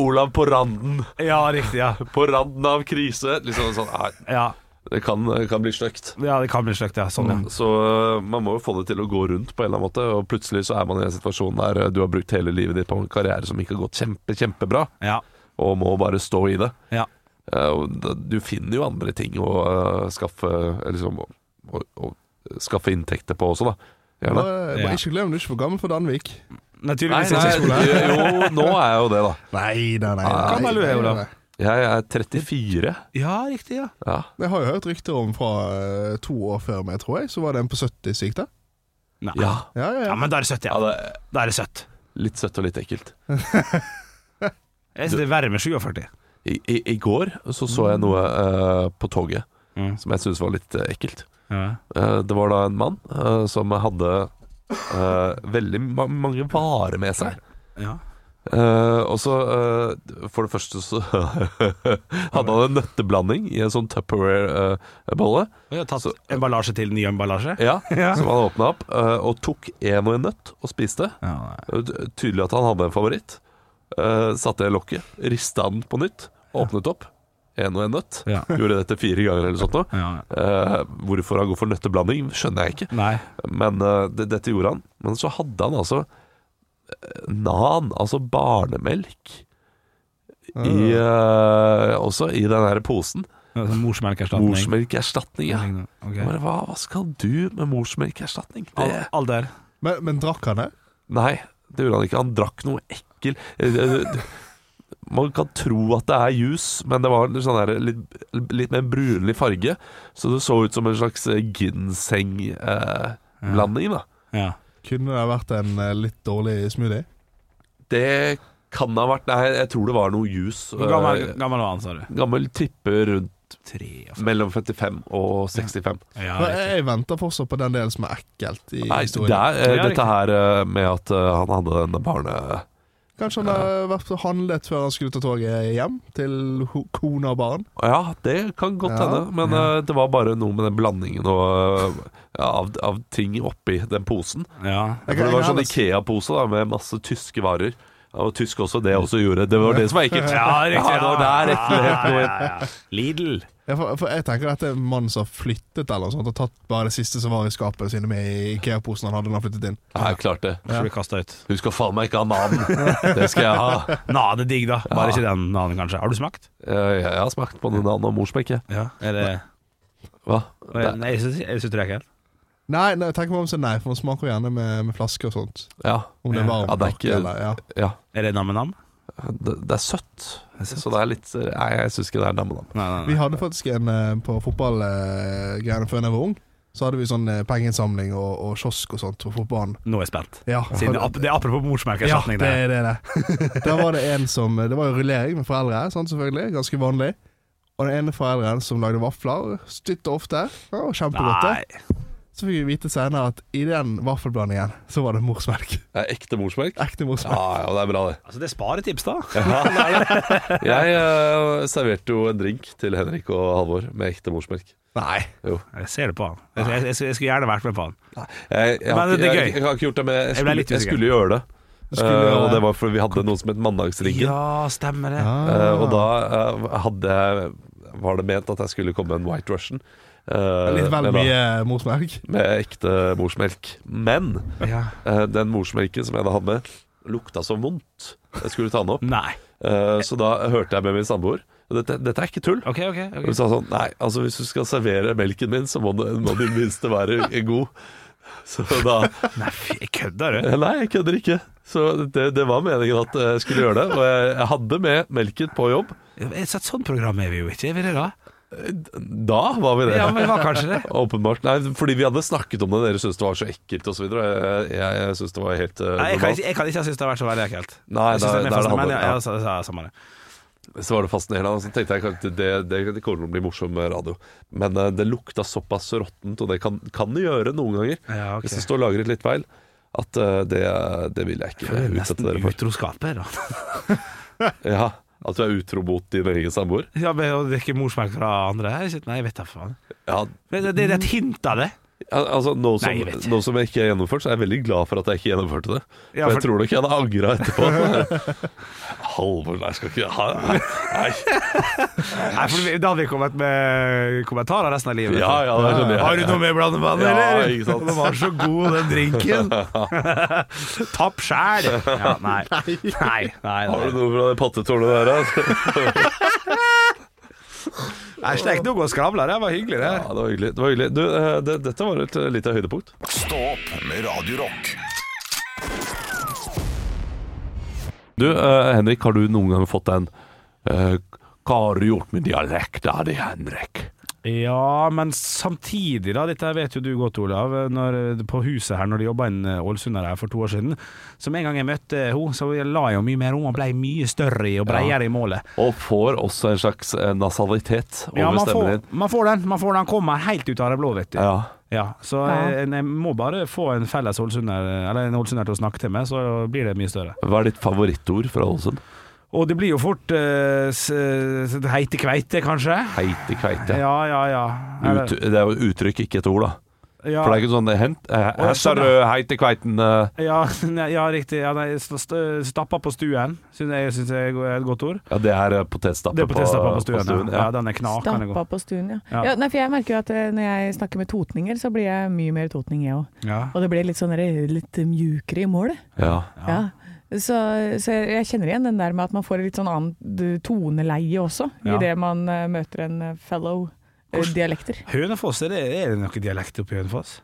Speaker 3: Olav på randen,
Speaker 4: Ja, riktig. Ja.
Speaker 3: på randen av krise, liksom sånn, nei,
Speaker 4: Ja,
Speaker 3: det kan, kan bli støkt.
Speaker 4: ja det kan bli sløkt, ja. Sånn, ja.
Speaker 3: Så øh, man må jo få det til å gå rundt på en eller annen måte, og plutselig så er man i en situasjon der øh, du har brukt hele livet ditt på en karriere som ikke har gått kjempe, kjempebra,
Speaker 4: Ja.
Speaker 3: og må bare stå i det.
Speaker 4: ja.
Speaker 3: Eh, og da- Du finner jo andre ting å øh, skaffe eh, liksom, å, å, å skaffe inntekter på også, da. Gjerne.
Speaker 1: Bare,
Speaker 4: Ja.
Speaker 1: bare eh, ikke glem, du er ikke for gammel for Danvik.
Speaker 3: Nei,
Speaker 4: Naturligvis ikke
Speaker 3: nei,
Speaker 4: skole.
Speaker 3: jo, nå er jeg jo det, da.
Speaker 1: Nei, nei, nei.
Speaker 4: Hvor gammel er du, Olav?
Speaker 3: Jeg er 34.
Speaker 4: Ja, riktig, ja.
Speaker 3: Ja.
Speaker 1: Jeg har jo hørt rykter om fra eh, to år før meg, tror jeg, så var det en på 70 syk der.
Speaker 4: Nei.
Speaker 3: ja.
Speaker 1: Ja, ja,
Speaker 4: Ja,
Speaker 1: ja.
Speaker 4: men da er det søtt, ja.
Speaker 3: ja det er
Speaker 4: Da er det søtt.
Speaker 3: litt søtt og litt ekkelt.
Speaker 4: Jeg synes det er verre med 47.
Speaker 3: I, i, I går så så jeg noe eh, på toget
Speaker 4: Mm.
Speaker 3: som jeg syntes var litt eh, ekkelt.
Speaker 4: Ja.
Speaker 3: Eh, Det var da en mann eh, som hadde eh, veldig ma mange varer med seg.
Speaker 4: Ja.
Speaker 3: Eh, og så, eh, for det første, så [LAUGHS] hadde han en nøtteblanding i en sånn eh, Tupperware-bolle.
Speaker 4: Og jeg har tatt emballasje til ny emballasje.
Speaker 3: ja,
Speaker 4: Ja.
Speaker 3: Som han åpna opp, eh, og tok en og en nøtt og spiste. Det var ty- Tydelig at han hadde en favoritt. Eh, satte i lokket, rista den på nytt, åpnet opp. En og en nøtt.
Speaker 4: Ja.
Speaker 3: [LAUGHS] Gjorde dette fire ganger eller sånt noe.
Speaker 4: Ja,
Speaker 3: Eh, hvorfor han går for nøtteblanding, skjønner jeg ikke.
Speaker 4: Nei.
Speaker 3: Men eh, det, dette gjorde han. Men så hadde han altså eh, nan, altså barnemelk, i, eh, også i den her posen.
Speaker 4: Sånn morsmelkerstatning.
Speaker 3: Morsmelkerstatning, ja. Jeg
Speaker 4: Ok.
Speaker 3: Bare, hva, hva skal du med morsmelkerstatning? Det,
Speaker 4: Al- Alder.
Speaker 1: Men, men drakk han det?
Speaker 3: nei, det gjorde han ikke. Han drakk noe ekkel eh, eh, Man kan tro at det er juice, men det var litt sånn der, litt, litt mer brunlig farge. Så det så ut som en slags eh, ginseng-blanding, da.
Speaker 4: Ja.
Speaker 1: Kunne det vært en eh, litt dårlig smoothie?
Speaker 3: Det kan ha vært Nei, jeg tror det var noe juice.
Speaker 4: Hvor gammel, gammel var han, sa du?
Speaker 3: Eh, gammel tipper rundt
Speaker 4: Tre
Speaker 3: mellom 55 og 65.
Speaker 4: Ja,
Speaker 1: Men
Speaker 4: riktig.
Speaker 1: jeg venter fortsatt på den delen som er ekkelt i
Speaker 3: Nei, det
Speaker 1: historien.
Speaker 3: er eh,
Speaker 4: Ja, riktig.
Speaker 3: dette her eh, med at eh, han hadde denne barne...
Speaker 1: Kanskje han har vært og handlet før han skulle ta toget hjem til ho- kone og barn?
Speaker 3: Ja, det kan godt
Speaker 1: Ja.
Speaker 3: hende, men eh, det var bare noe med den blandingen og, eh, ja, av, av ting oppi den posen.
Speaker 4: Ja.
Speaker 1: Jeg
Speaker 3: For
Speaker 4: [LAUGHS]
Speaker 1: kan-
Speaker 3: det var
Speaker 1: jeg
Speaker 3: sånn
Speaker 1: kan-
Speaker 3: Ikea-pose da, med masse tyske varer. Og tysk også, det også gjorde. Det var det som var ekkelt.
Speaker 4: [LAUGHS] Ja, riktig,
Speaker 3: det var der ekkelt.
Speaker 4: Lidl.
Speaker 1: Ja, for, for jeg tenker at det er en mann som har flyttet eller noe sånt, og tatt bare det siste som var i skapet sine med i Ikea-posen han hadde da han flyttet inn.
Speaker 3: Ja, klart det.
Speaker 4: Så blir kasta ut.
Speaker 3: Du skal faen meg ikke ha mannen. Det skal jeg ha.
Speaker 4: Na, det er digg, da. Bare ikke den nanen, kanskje. Har du smakt?
Speaker 3: Jeg, jeg har smakt på den andre morsmekket.
Speaker 4: Ja. Er det
Speaker 3: Hva? Det-
Speaker 4: Nei, jeg syns jeg syns det er ekkelt.
Speaker 1: Nei, nei tenk meg om så nei, for man smaker jo gjerne med, med flaske og sånt.
Speaker 3: Ja.
Speaker 1: Om det er varmt
Speaker 3: Ja, det er
Speaker 1: nok,
Speaker 3: ikke-
Speaker 1: eller ja.
Speaker 3: ja.
Speaker 4: Er det nam-nam?
Speaker 3: Det, det er søtt. Så det er litt eh, Nei, jeg syns ikke det er dammen.
Speaker 4: Nei, nei,
Speaker 1: Vi
Speaker 4: nei.
Speaker 1: hadde faktisk en eh, på fotballgreiene før jeg var ung. Så hadde vi sånn eh, pengeinnsamling og, og kiosk og sånt på fotballen.
Speaker 4: Nå er jeg spent.
Speaker 1: Ja,
Speaker 4: Siden det, er ap- det er apropos
Speaker 1: ja,
Speaker 4: morsmerkeerstatning.
Speaker 1: det
Speaker 4: Ja,
Speaker 1: er det. det. [LAUGHS] Da var det en som Det var jo rullering med foreldre, sant, selvfølgelig. Ganske vanlig. Og den ene forelderen som lagde vafler, stytt og ofte. Ja, kjempegodt. det.
Speaker 4: Nei.
Speaker 1: Så fikk vi vite senere at i den vaffelblandingen så var det morsmelk. [LAUGHS]
Speaker 3: Det er ekte morsmelk?
Speaker 1: Ekte
Speaker 3: Ja,
Speaker 1: morsmelk.
Speaker 3: ja, det er bra, det.
Speaker 4: Altså, det er sparetips, da.
Speaker 3: [LAUGHS] Jeg eh, serverte jo en drink til Henrik og Halvor med ekte morsmelk.
Speaker 1: Nei.
Speaker 4: Jeg ser det på han. Jeg, jeg, jeg, jeg skulle gjerne vært med på han.
Speaker 3: Jeg, jeg, har
Speaker 4: Men
Speaker 3: ikke-
Speaker 4: det er
Speaker 3: jeg,
Speaker 4: gøy.
Speaker 3: jeg har ikke gjort det, men jeg
Speaker 4: Jeg ble
Speaker 3: skulle,
Speaker 4: litt
Speaker 3: jeg,
Speaker 4: usikker.
Speaker 3: skulle gjøre det.
Speaker 1: Skulle
Speaker 3: Eh,
Speaker 1: gjøre
Speaker 3: og
Speaker 1: det.
Speaker 3: det var fordi vi hadde noe som het Mandagsdrinken.
Speaker 4: Ja, stemmer det.
Speaker 1: Ah.
Speaker 3: Eh, og da eh, hadde jeg Var det ment at jeg skulle komme en White Russian. eh,
Speaker 1: Litt vel
Speaker 3: med da-
Speaker 1: mye morsmelk.
Speaker 3: Med ekte morsmelk. Men
Speaker 4: Ja.
Speaker 3: eh, den morsmelken som jeg da hadde med, lukta så vondt. Jeg skulle ta den opp.
Speaker 4: Nei.
Speaker 3: Eh, så da hørte jeg med min samboer. og Dette, dette er ikke tull.
Speaker 4: OK, OK.
Speaker 3: Hun sa sånn Nei, altså hvis du skal servere melken min, så må den må den i det minste være god. Så da
Speaker 4: Nei, fy, jeg kødder, du.
Speaker 3: Nei, jeg kødder ikke. Så det, det var meningen at jeg skulle gjøre det. Og jeg, jeg hadde med melken på jobb.
Speaker 4: Et sånt sånn program er vi jo ikke, er vi det da?
Speaker 3: Da var vi det.
Speaker 4: Ja, men det var kanskje det.
Speaker 3: Åpenbart. Nei, fordi vi hadde snakket om det, dere syntes det var så ekkelt osv. Jeg, jeg, jeg syntes det var helt eh,
Speaker 4: Nei, jeg, kan
Speaker 3: normalt.
Speaker 4: ikke, jeg kan ikke ha syntes det har vært så veldig ekkelt.
Speaker 3: Nei,
Speaker 4: jeg synes
Speaker 3: der-
Speaker 4: det er mer
Speaker 3: der er det
Speaker 4: fascinerende, men
Speaker 3: handler-
Speaker 4: ja,
Speaker 3: ja.
Speaker 4: ja, så- så er det samme det.
Speaker 3: Så var det fascinerende. og Så tenkte jeg at det, det, det kommer til å bli morsom radio. Men eh, det lukta såpass råttent, og det kan, kan det gjøre noen ganger.
Speaker 4: Ja, ok.
Speaker 3: Hvis det står lagret litt feil. At eh, det, det vil jeg ikke utsette
Speaker 4: Nesten
Speaker 3: dere for.
Speaker 4: utroskaper, da. [LAUGHS]
Speaker 3: Ja, At du er utro mot din egen samboer?
Speaker 4: Ja, men å drikke morsmelk fra andre her, shit, Nei, jeg vet da faen.
Speaker 3: Ja,
Speaker 4: Men Det, det er et hint av det.
Speaker 3: al- altså, nå som,
Speaker 4: Nei, jeg vet ikke.
Speaker 3: nå som jeg ikke har gjennomført, så er jeg veldig glad for at jeg ikke gjennomførte det.
Speaker 4: Ja,
Speaker 3: for
Speaker 4: for-
Speaker 3: jeg tror nok jeg hadde angra etterpå.
Speaker 4: [LAUGHS]
Speaker 3: Halvor, nei, jeg skal ikke ha Nei.
Speaker 4: Nei, for vi- Da hadde vi kommet med kommentarer resten av livet.
Speaker 3: Ja, ja, det skjønner jeg.
Speaker 4: Har du noe med blandevann,
Speaker 3: Ja,
Speaker 4: eller?
Speaker 3: ikke sant.
Speaker 4: Den var så god, den
Speaker 3: [LAUGHS]
Speaker 4: drinken. Tapp sjæl! Ja, nei. Nei, nei,
Speaker 3: Har du
Speaker 4: nei.
Speaker 3: noe fra det pattetårnet der, altså? da?
Speaker 4: Nei, Slekt nok å skravle. Det var hyggelig, det.
Speaker 3: Ja, det var hyggelig. Det var hyggelig. Du, eh, det, dette var et eh, lite høydepunkt.
Speaker 2: Stå opp med Radio Rock.
Speaker 3: Du, eh, Henrik, har du noen gang fått en eh, Hva har du gjort med dialekta di, Henrik?
Speaker 4: Ja, men samtidig, da. Dette vet jo du godt, Olav. Når, på huset her, når de jobba en ålesunder her for to år siden. Som en gang jeg møtte henne, så la jeg jo mye mer om og ble mye større i og bredere i målet.
Speaker 3: Og får også en slags eh, nasalitet over
Speaker 4: Ja, man
Speaker 3: stemmen
Speaker 4: får,
Speaker 3: din.
Speaker 4: man får den. Man får den kommer helt ut av det blå, vet du.
Speaker 3: Ja.
Speaker 4: Ja, så Jeg, jeg må bare få en felles ålesunder Eller en ålesunder til å snakke til meg, så blir det mye større.
Speaker 3: Hva er ditt favorittord fra Ålesund?
Speaker 4: Og det blir jo fort eh, s- s- heite kveite, kanskje.
Speaker 3: Heite kveite.
Speaker 4: Ja, ja, ja. Eller-
Speaker 3: Ut, det er jo uttrykk, ikke et ord, da.
Speaker 4: ja.
Speaker 3: For det er ikke sånn det er hent, eh,
Speaker 4: ja,
Speaker 3: Her
Speaker 4: sånn,
Speaker 3: står det heite kveiten eh,
Speaker 4: Ja, [LAUGHS] nei, ja riktig. Ja, nei, st- st- stappa på stuen syns jeg, synes jeg er et godt ord.
Speaker 3: Ja, det er eh, potetstappe
Speaker 4: Det er på testappa på stuen. ja.
Speaker 3: ja.
Speaker 4: ja, den er knakende
Speaker 5: Stampa
Speaker 4: god.
Speaker 5: på stuen, ja.
Speaker 4: Ja.
Speaker 5: ja. nei, for jeg merker jo at eh, når jeg snakker med totninger, så blir jeg mye mer totning, jeg òg.
Speaker 4: Ja.
Speaker 5: Og det blir litt sånn der, litt mjukere i målet.
Speaker 3: Ja.
Speaker 5: Ja. Så, så jeg jeg kjenner igjen den der med at man får et litt sånn annet eh, toneleie også,
Speaker 4: Ja.
Speaker 5: idet man eh, møter en eh, fellow eh,
Speaker 4: Hvordan-
Speaker 5: dialekter.
Speaker 4: Hønefoss, er det, er det noe dialekt oppe i Hønefoss?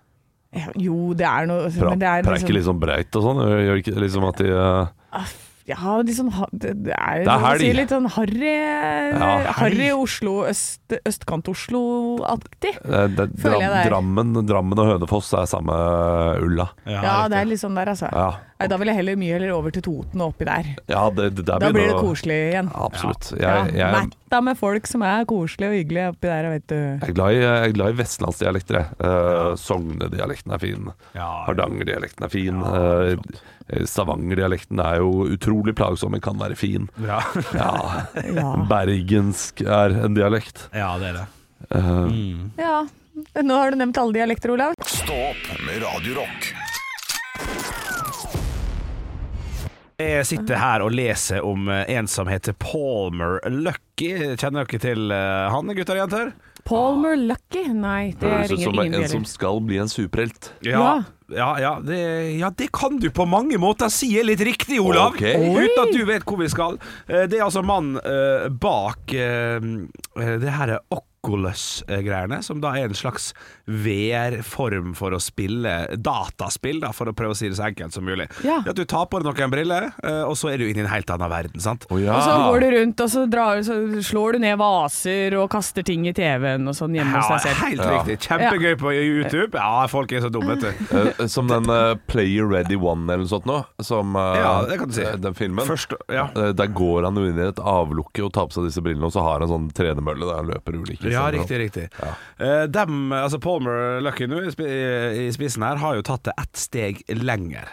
Speaker 5: Ja, Jo, det er noe
Speaker 3: Pra,
Speaker 5: men det er
Speaker 3: Preiker
Speaker 5: liksom, Ah,
Speaker 3: liksom breit og sånn? Gjør gjør ikke liksom at de eh,
Speaker 5: ja, litt sånn ha- det, det
Speaker 3: Det
Speaker 5: er,
Speaker 3: er
Speaker 5: man sier
Speaker 3: helg.
Speaker 5: litt sånn harry
Speaker 3: Ja,
Speaker 5: Harry
Speaker 4: helg.
Speaker 5: Oslo, øst, østkant-Oslo-aktig.
Speaker 3: eh, det, dram,
Speaker 5: Føler jeg det er.
Speaker 3: Drammen, Drammen og Hønefoss er samme ulla.
Speaker 5: Ja, det er litt sånn der, altså.
Speaker 3: Ja,
Speaker 5: Nei, da vil jeg heller mye heller over til Toten og oppi der.
Speaker 3: ja det, det der
Speaker 5: Da blir det
Speaker 3: å-
Speaker 5: koselig igjen.
Speaker 3: Ja, Absolutt.
Speaker 5: Ja,
Speaker 3: Jeg, jeg,
Speaker 5: Metta med folk som er koselige og hyggelige oppi der, vet du.
Speaker 3: jeg er glad i, jeg er glad i vestlandsdialekter, jeg. Eh, Sognedialekten er fin.
Speaker 4: Ja,
Speaker 3: Hardangerdialekten er fin.
Speaker 4: Ja,
Speaker 3: eh, Stavangerdialekten er jo utrolig plagsom, men kan være fin.
Speaker 4: bra. [LAUGHS]
Speaker 3: Ja.
Speaker 5: Ja.
Speaker 3: [LAUGHS] Bergensk er en dialekt.
Speaker 4: ja, det er det.
Speaker 3: Eh,
Speaker 5: Mm. ja. Nå har du nevnt alle dialekter, Olav.
Speaker 2: Stå opp med Radio Rock.
Speaker 4: Jeg sitter her og leser om eh, en som heter Palmer Lucky. Kjenner dere til eh, han, gutter og jenter?
Speaker 5: Palmer Lucky? Nei, det
Speaker 3: Høres ut
Speaker 5: ringer
Speaker 3: som
Speaker 5: ingen
Speaker 3: en som
Speaker 5: bjeller.
Speaker 3: skal bli en superhelt.
Speaker 5: Ja.
Speaker 4: Ja, ja, det, ja, det kan du på mange måter si er litt riktig, Olav.
Speaker 3: Ok.
Speaker 4: Uten at du vet hvor vi skal. Eh, Det er altså mannen eh, bak eh, det her er Oculus-greiene, som da er en slags VR-form for å spille dataspill, da, for å prøve å si det så enkelt som mulig.
Speaker 5: Ja.
Speaker 4: Det At du tar på deg noen briller, eh, og så er du inne i en helt annen verden, sant?
Speaker 3: Å ja.
Speaker 5: Og så går du rundt og så, drar, så slår du ned vaser og kaster ting i TV-en og sånn hjemme hos
Speaker 4: Ja,
Speaker 5: deg selv.
Speaker 4: helt
Speaker 3: Ja.
Speaker 4: riktig. Kjempegøy på YouTube. Ja, folk er så dumme, vet du.
Speaker 3: Eh, som den eh, Player Ready One eller noe sånt nå, som eh,
Speaker 4: Ja, det kan du si.
Speaker 3: eh, den filmen.
Speaker 4: Først, ja.
Speaker 3: Eh, Der går han jo inn i et avlukke og tar på seg disse brillene, og så har han sånn tredemølle der han løper ulike
Speaker 4: Ja,
Speaker 3: steder.
Speaker 4: riktig, riktig. Eh, dem, altså Palmer Lucky nå i spi- i spissen her, har jo tatt det ett steg lenger.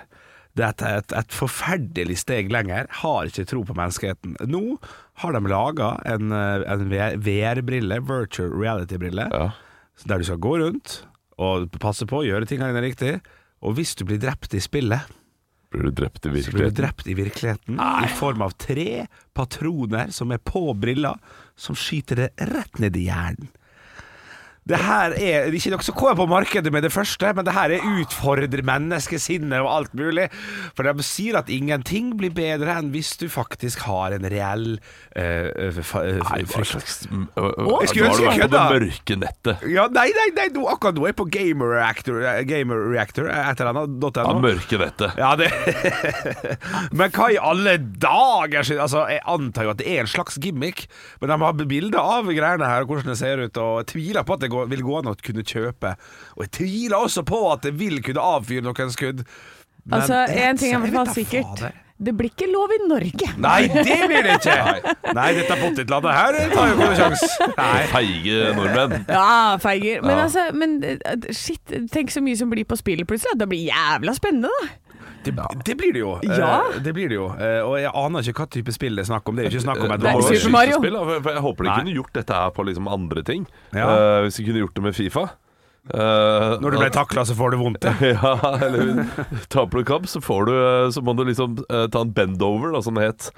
Speaker 4: Det er et, et, et forferdelig steg lenger. Har ikke tro på menneskeheten. Nå har de laga en, eh, en VR- VR-brille, virtual reality-brille,
Speaker 3: Ja.
Speaker 4: der du skal gå rundt og passe på å gjøre tingene dine riktig. Og hvis du blir drept i spillet,
Speaker 3: Blir du drept i
Speaker 4: så blir du
Speaker 3: virkeligheten?
Speaker 4: drept i virkeligheten i form av tre patroner som er på briller, som skyter det rett ned i hjernen. Det her er det er ikke noe som kommer på markedet med det første, men det her er utfordrer menneskesinnet og alt mulig. For de sier at ingenting blir bedre enn hvis du faktisk har en reell eh, fa-
Speaker 3: Nei, hva
Speaker 4: frykt.
Speaker 3: slags m- eh, ø- ø-
Speaker 4: Å, jeg
Speaker 3: Nå
Speaker 4: skulle
Speaker 3: har du
Speaker 4: ønske jeg
Speaker 3: vært på det
Speaker 4: kødda.
Speaker 3: mørke nettet.
Speaker 4: Ja, nei, nei, nei, nå- akkurat nå er jeg på Gamer Reactor, eh, Gamer Reactor eh, et eller annet, dot
Speaker 3: Ja,
Speaker 4: .no.
Speaker 3: mørke nettet.
Speaker 4: Ja, det [LAUGHS] Men hva i alle dager sin- Altså, jeg antar jo at det er en slags gimmick, men de har bilder av greiene her og hvordan det ser ut, og jeg tviler på at det går, vil gå an å kunne kjøpe. Og jeg tviler også på at det vil kunne avfyre noen skudd. Men-
Speaker 5: Altså, en ting er i hvert
Speaker 4: Jeg
Speaker 5: fall
Speaker 4: vet da
Speaker 5: sikkert.
Speaker 4: fader.
Speaker 5: Det blir ikke lov i Norge.
Speaker 4: Nei, det blir det ikke! Nei, dette potetlandet her tar jo ikke noen sjanse. Nei.
Speaker 3: Feige
Speaker 4: [LAUGHS]
Speaker 3: nordmenn.
Speaker 5: [LAUGHS] Ja, feiger. Men
Speaker 3: Ja.
Speaker 5: altså, men eh, shit, tenk så mye som blir på spillet plutselig. at Det blir jævla spennende, da.
Speaker 4: Det, det blir det jo. Eh,
Speaker 5: Ja.
Speaker 4: Det blir det jo. Eh, Og jeg aner ikke hva type spill det er snakk om. Det er jo ikke
Speaker 3: Eh,
Speaker 4: snakk om et
Speaker 5: Nei,
Speaker 4: vanlig
Speaker 5: Super Mario.
Speaker 3: skytespill, da, for- for Jeg håper de
Speaker 4: Nei.
Speaker 3: kunne gjort dette her på liksom andre ting.
Speaker 4: Ja.
Speaker 3: Eh, hvis de kunne gjort det med Fifa. Eh,
Speaker 4: Når du blir takla, så får du vondt. ja.
Speaker 3: [LAUGHS] Ja, eller taper du kamp, så, får du, eh, så må du liksom eh, ta en bend over, da, som det het.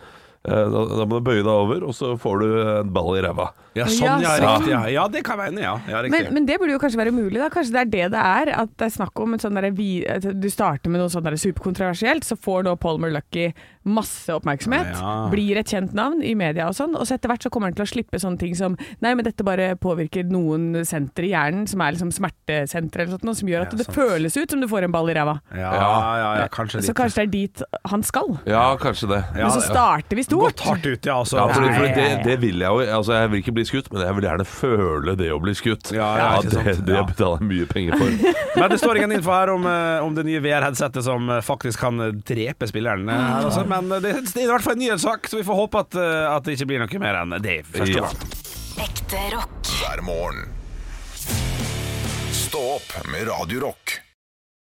Speaker 3: Eh, Da, da må du bøye deg over, og så får du en ball i ræva.
Speaker 4: Ja, sånn, ja.
Speaker 5: Ja, sånn.
Speaker 4: Riktig. Ja, ja det kan være. Ja, ja, riktig.
Speaker 5: Men, men det burde jo kanskje være mulig, da. Kanskje det er det det er. At det er snakk om et sånn derre vi- at Du starter med noe sånn derre superkontroversielt, så får nå Palmer Lucky masse oppmerksomhet.
Speaker 4: Ja.
Speaker 5: Blir et kjent navn i media og sånn. Og så etter hvert så kommer han til å slippe sånne ting som Nei, men dette bare påvirker noen sentre i hjernen, som er liksom smertesentre eller sånt, noe som gjør at
Speaker 4: Ja,
Speaker 5: det
Speaker 4: sant.
Speaker 5: føles ut som du får en ball i ræva.
Speaker 4: Ja, ja, ja, kanskje
Speaker 5: Så
Speaker 4: litt.
Speaker 5: kanskje det er dit han skal.
Speaker 3: Ja, kanskje det.
Speaker 4: Ja,
Speaker 5: Men så
Speaker 4: det-
Speaker 5: starter vi
Speaker 4: Gått
Speaker 5: stort.
Speaker 4: hardt ut, ja. Altså.
Speaker 3: Ja, fordi,
Speaker 5: Nei,
Speaker 3: fordi
Speaker 5: ja,
Speaker 3: det,
Speaker 5: ja.
Speaker 3: det vil jeg jo. Altså, jeg vil ikke bli skutt, men jeg vil gjerne føle det å bli skutt.
Speaker 4: Ja, ja, ikke
Speaker 3: det,
Speaker 4: sant?
Speaker 3: det
Speaker 4: Ja.
Speaker 3: betaler jeg mye penger for.
Speaker 4: [LAUGHS] [LAUGHS] Men det står ingen info her om, eh, om det nye VR-headsetet som eh, faktisk kan eh, drepe spilleren. eh, Her også.
Speaker 5: Ah.
Speaker 4: Men eh, det, det er i hvert fall en nyhetssak, så vi får håpe at, eh, at det ikke blir noe mer enn det. første
Speaker 3: Ja.
Speaker 4: gang.
Speaker 6: Ekte rock.
Speaker 2: hver morgen. Stå opp med Radio Rock.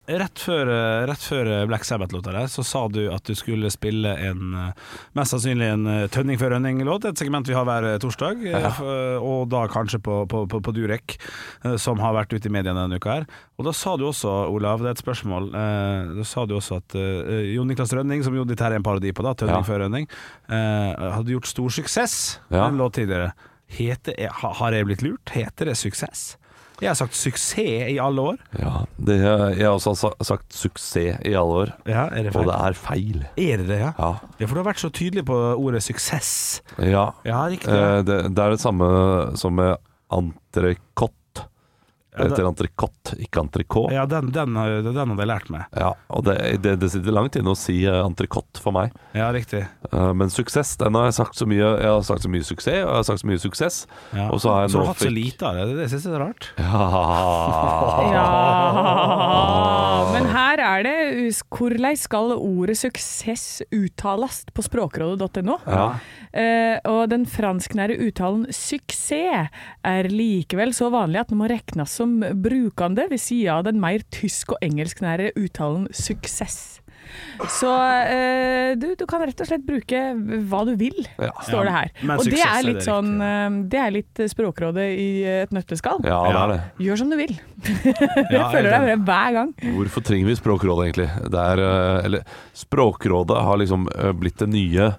Speaker 4: Rett før, eh, rett før eh, Black Sabbath-låta der, så sa du at du skulle spille en eh, Mest sannsynlig en eh, Tønning før rønning-låt, et segment vi har hver eh, torsdag. eh, f- eh, Og da kanskje på, på, på, på Durek, eh, som har vært ute i mediene denne uka her. Og da sa du også, Olav, det er et spørsmål eh, Da sa du også at eh, Jon Niklas Rønning, som jo dette her er en parodi på, da, Tønning
Speaker 3: Ja.
Speaker 4: før rønning, eh, hadde gjort stor suksess med
Speaker 3: Ja.
Speaker 4: en låt tidligere. Heter, eh, ha- har jeg blitt lurt? Heter det suksess? Jeg har sagt suksess i alle år.
Speaker 3: Ja, det, jeg har også sa- sagt suksess i alle år,
Speaker 4: Ja, er det
Speaker 3: og
Speaker 4: feil?
Speaker 3: det er feil.
Speaker 4: Er det det, ja?
Speaker 3: Ja.
Speaker 4: Ja, for du har vært så tydelig på ordet suksess.
Speaker 3: ja.
Speaker 4: Ja, riktig.
Speaker 3: Eh, Det, det er det samme som med entrecôte. Det heter entrecôte, ikke entrecôte.
Speaker 4: Eh, ja, den, den, har- den hadde jeg lært meg.
Speaker 3: Ja, og det, det, det sitter langt inne å si eh, entrecôte for meg.
Speaker 4: Ja, riktig.
Speaker 3: Eh, Men suksess, den har jeg sagt så mye. Jeg har sagt så mye suksess, og jeg har sagt så mye suksess.
Speaker 4: Ja.
Speaker 3: Og så har jeg nå
Speaker 4: du hatt så
Speaker 3: fikk- [LAUGHS]
Speaker 4: lite av det. Det, det synes jeg er rart.
Speaker 3: Ja.
Speaker 4: Ah.
Speaker 5: Ja, men her er det us- Hvordan skal ordet suksess uttales på språkrådet.no?
Speaker 3: Ja.
Speaker 5: Eh, og den fransknære uttalen suksess er likevel så vanlig at den må regnes som brukende ved siden av den mer tysk- og engelsknære uttalen suksess. Så eh, du, du kan rett og slett bruke hva du vil,
Speaker 3: Ja.
Speaker 5: står det her.
Speaker 4: Ja, men
Speaker 5: og det
Speaker 4: suksess er
Speaker 5: er litt
Speaker 4: det
Speaker 5: sånn eh, Det er litt Språkrådet i et nøtteskall.
Speaker 3: Ja, det er det.
Speaker 5: Gjør som du vil.
Speaker 4: Ja,
Speaker 5: Jeg føler
Speaker 4: helt
Speaker 5: deg
Speaker 4: enig.
Speaker 5: bare hver gang.
Speaker 3: Hvorfor trenger vi Språkrådet, egentlig? Det er, eh, eller, språkrådet har liksom eh, blitt det nye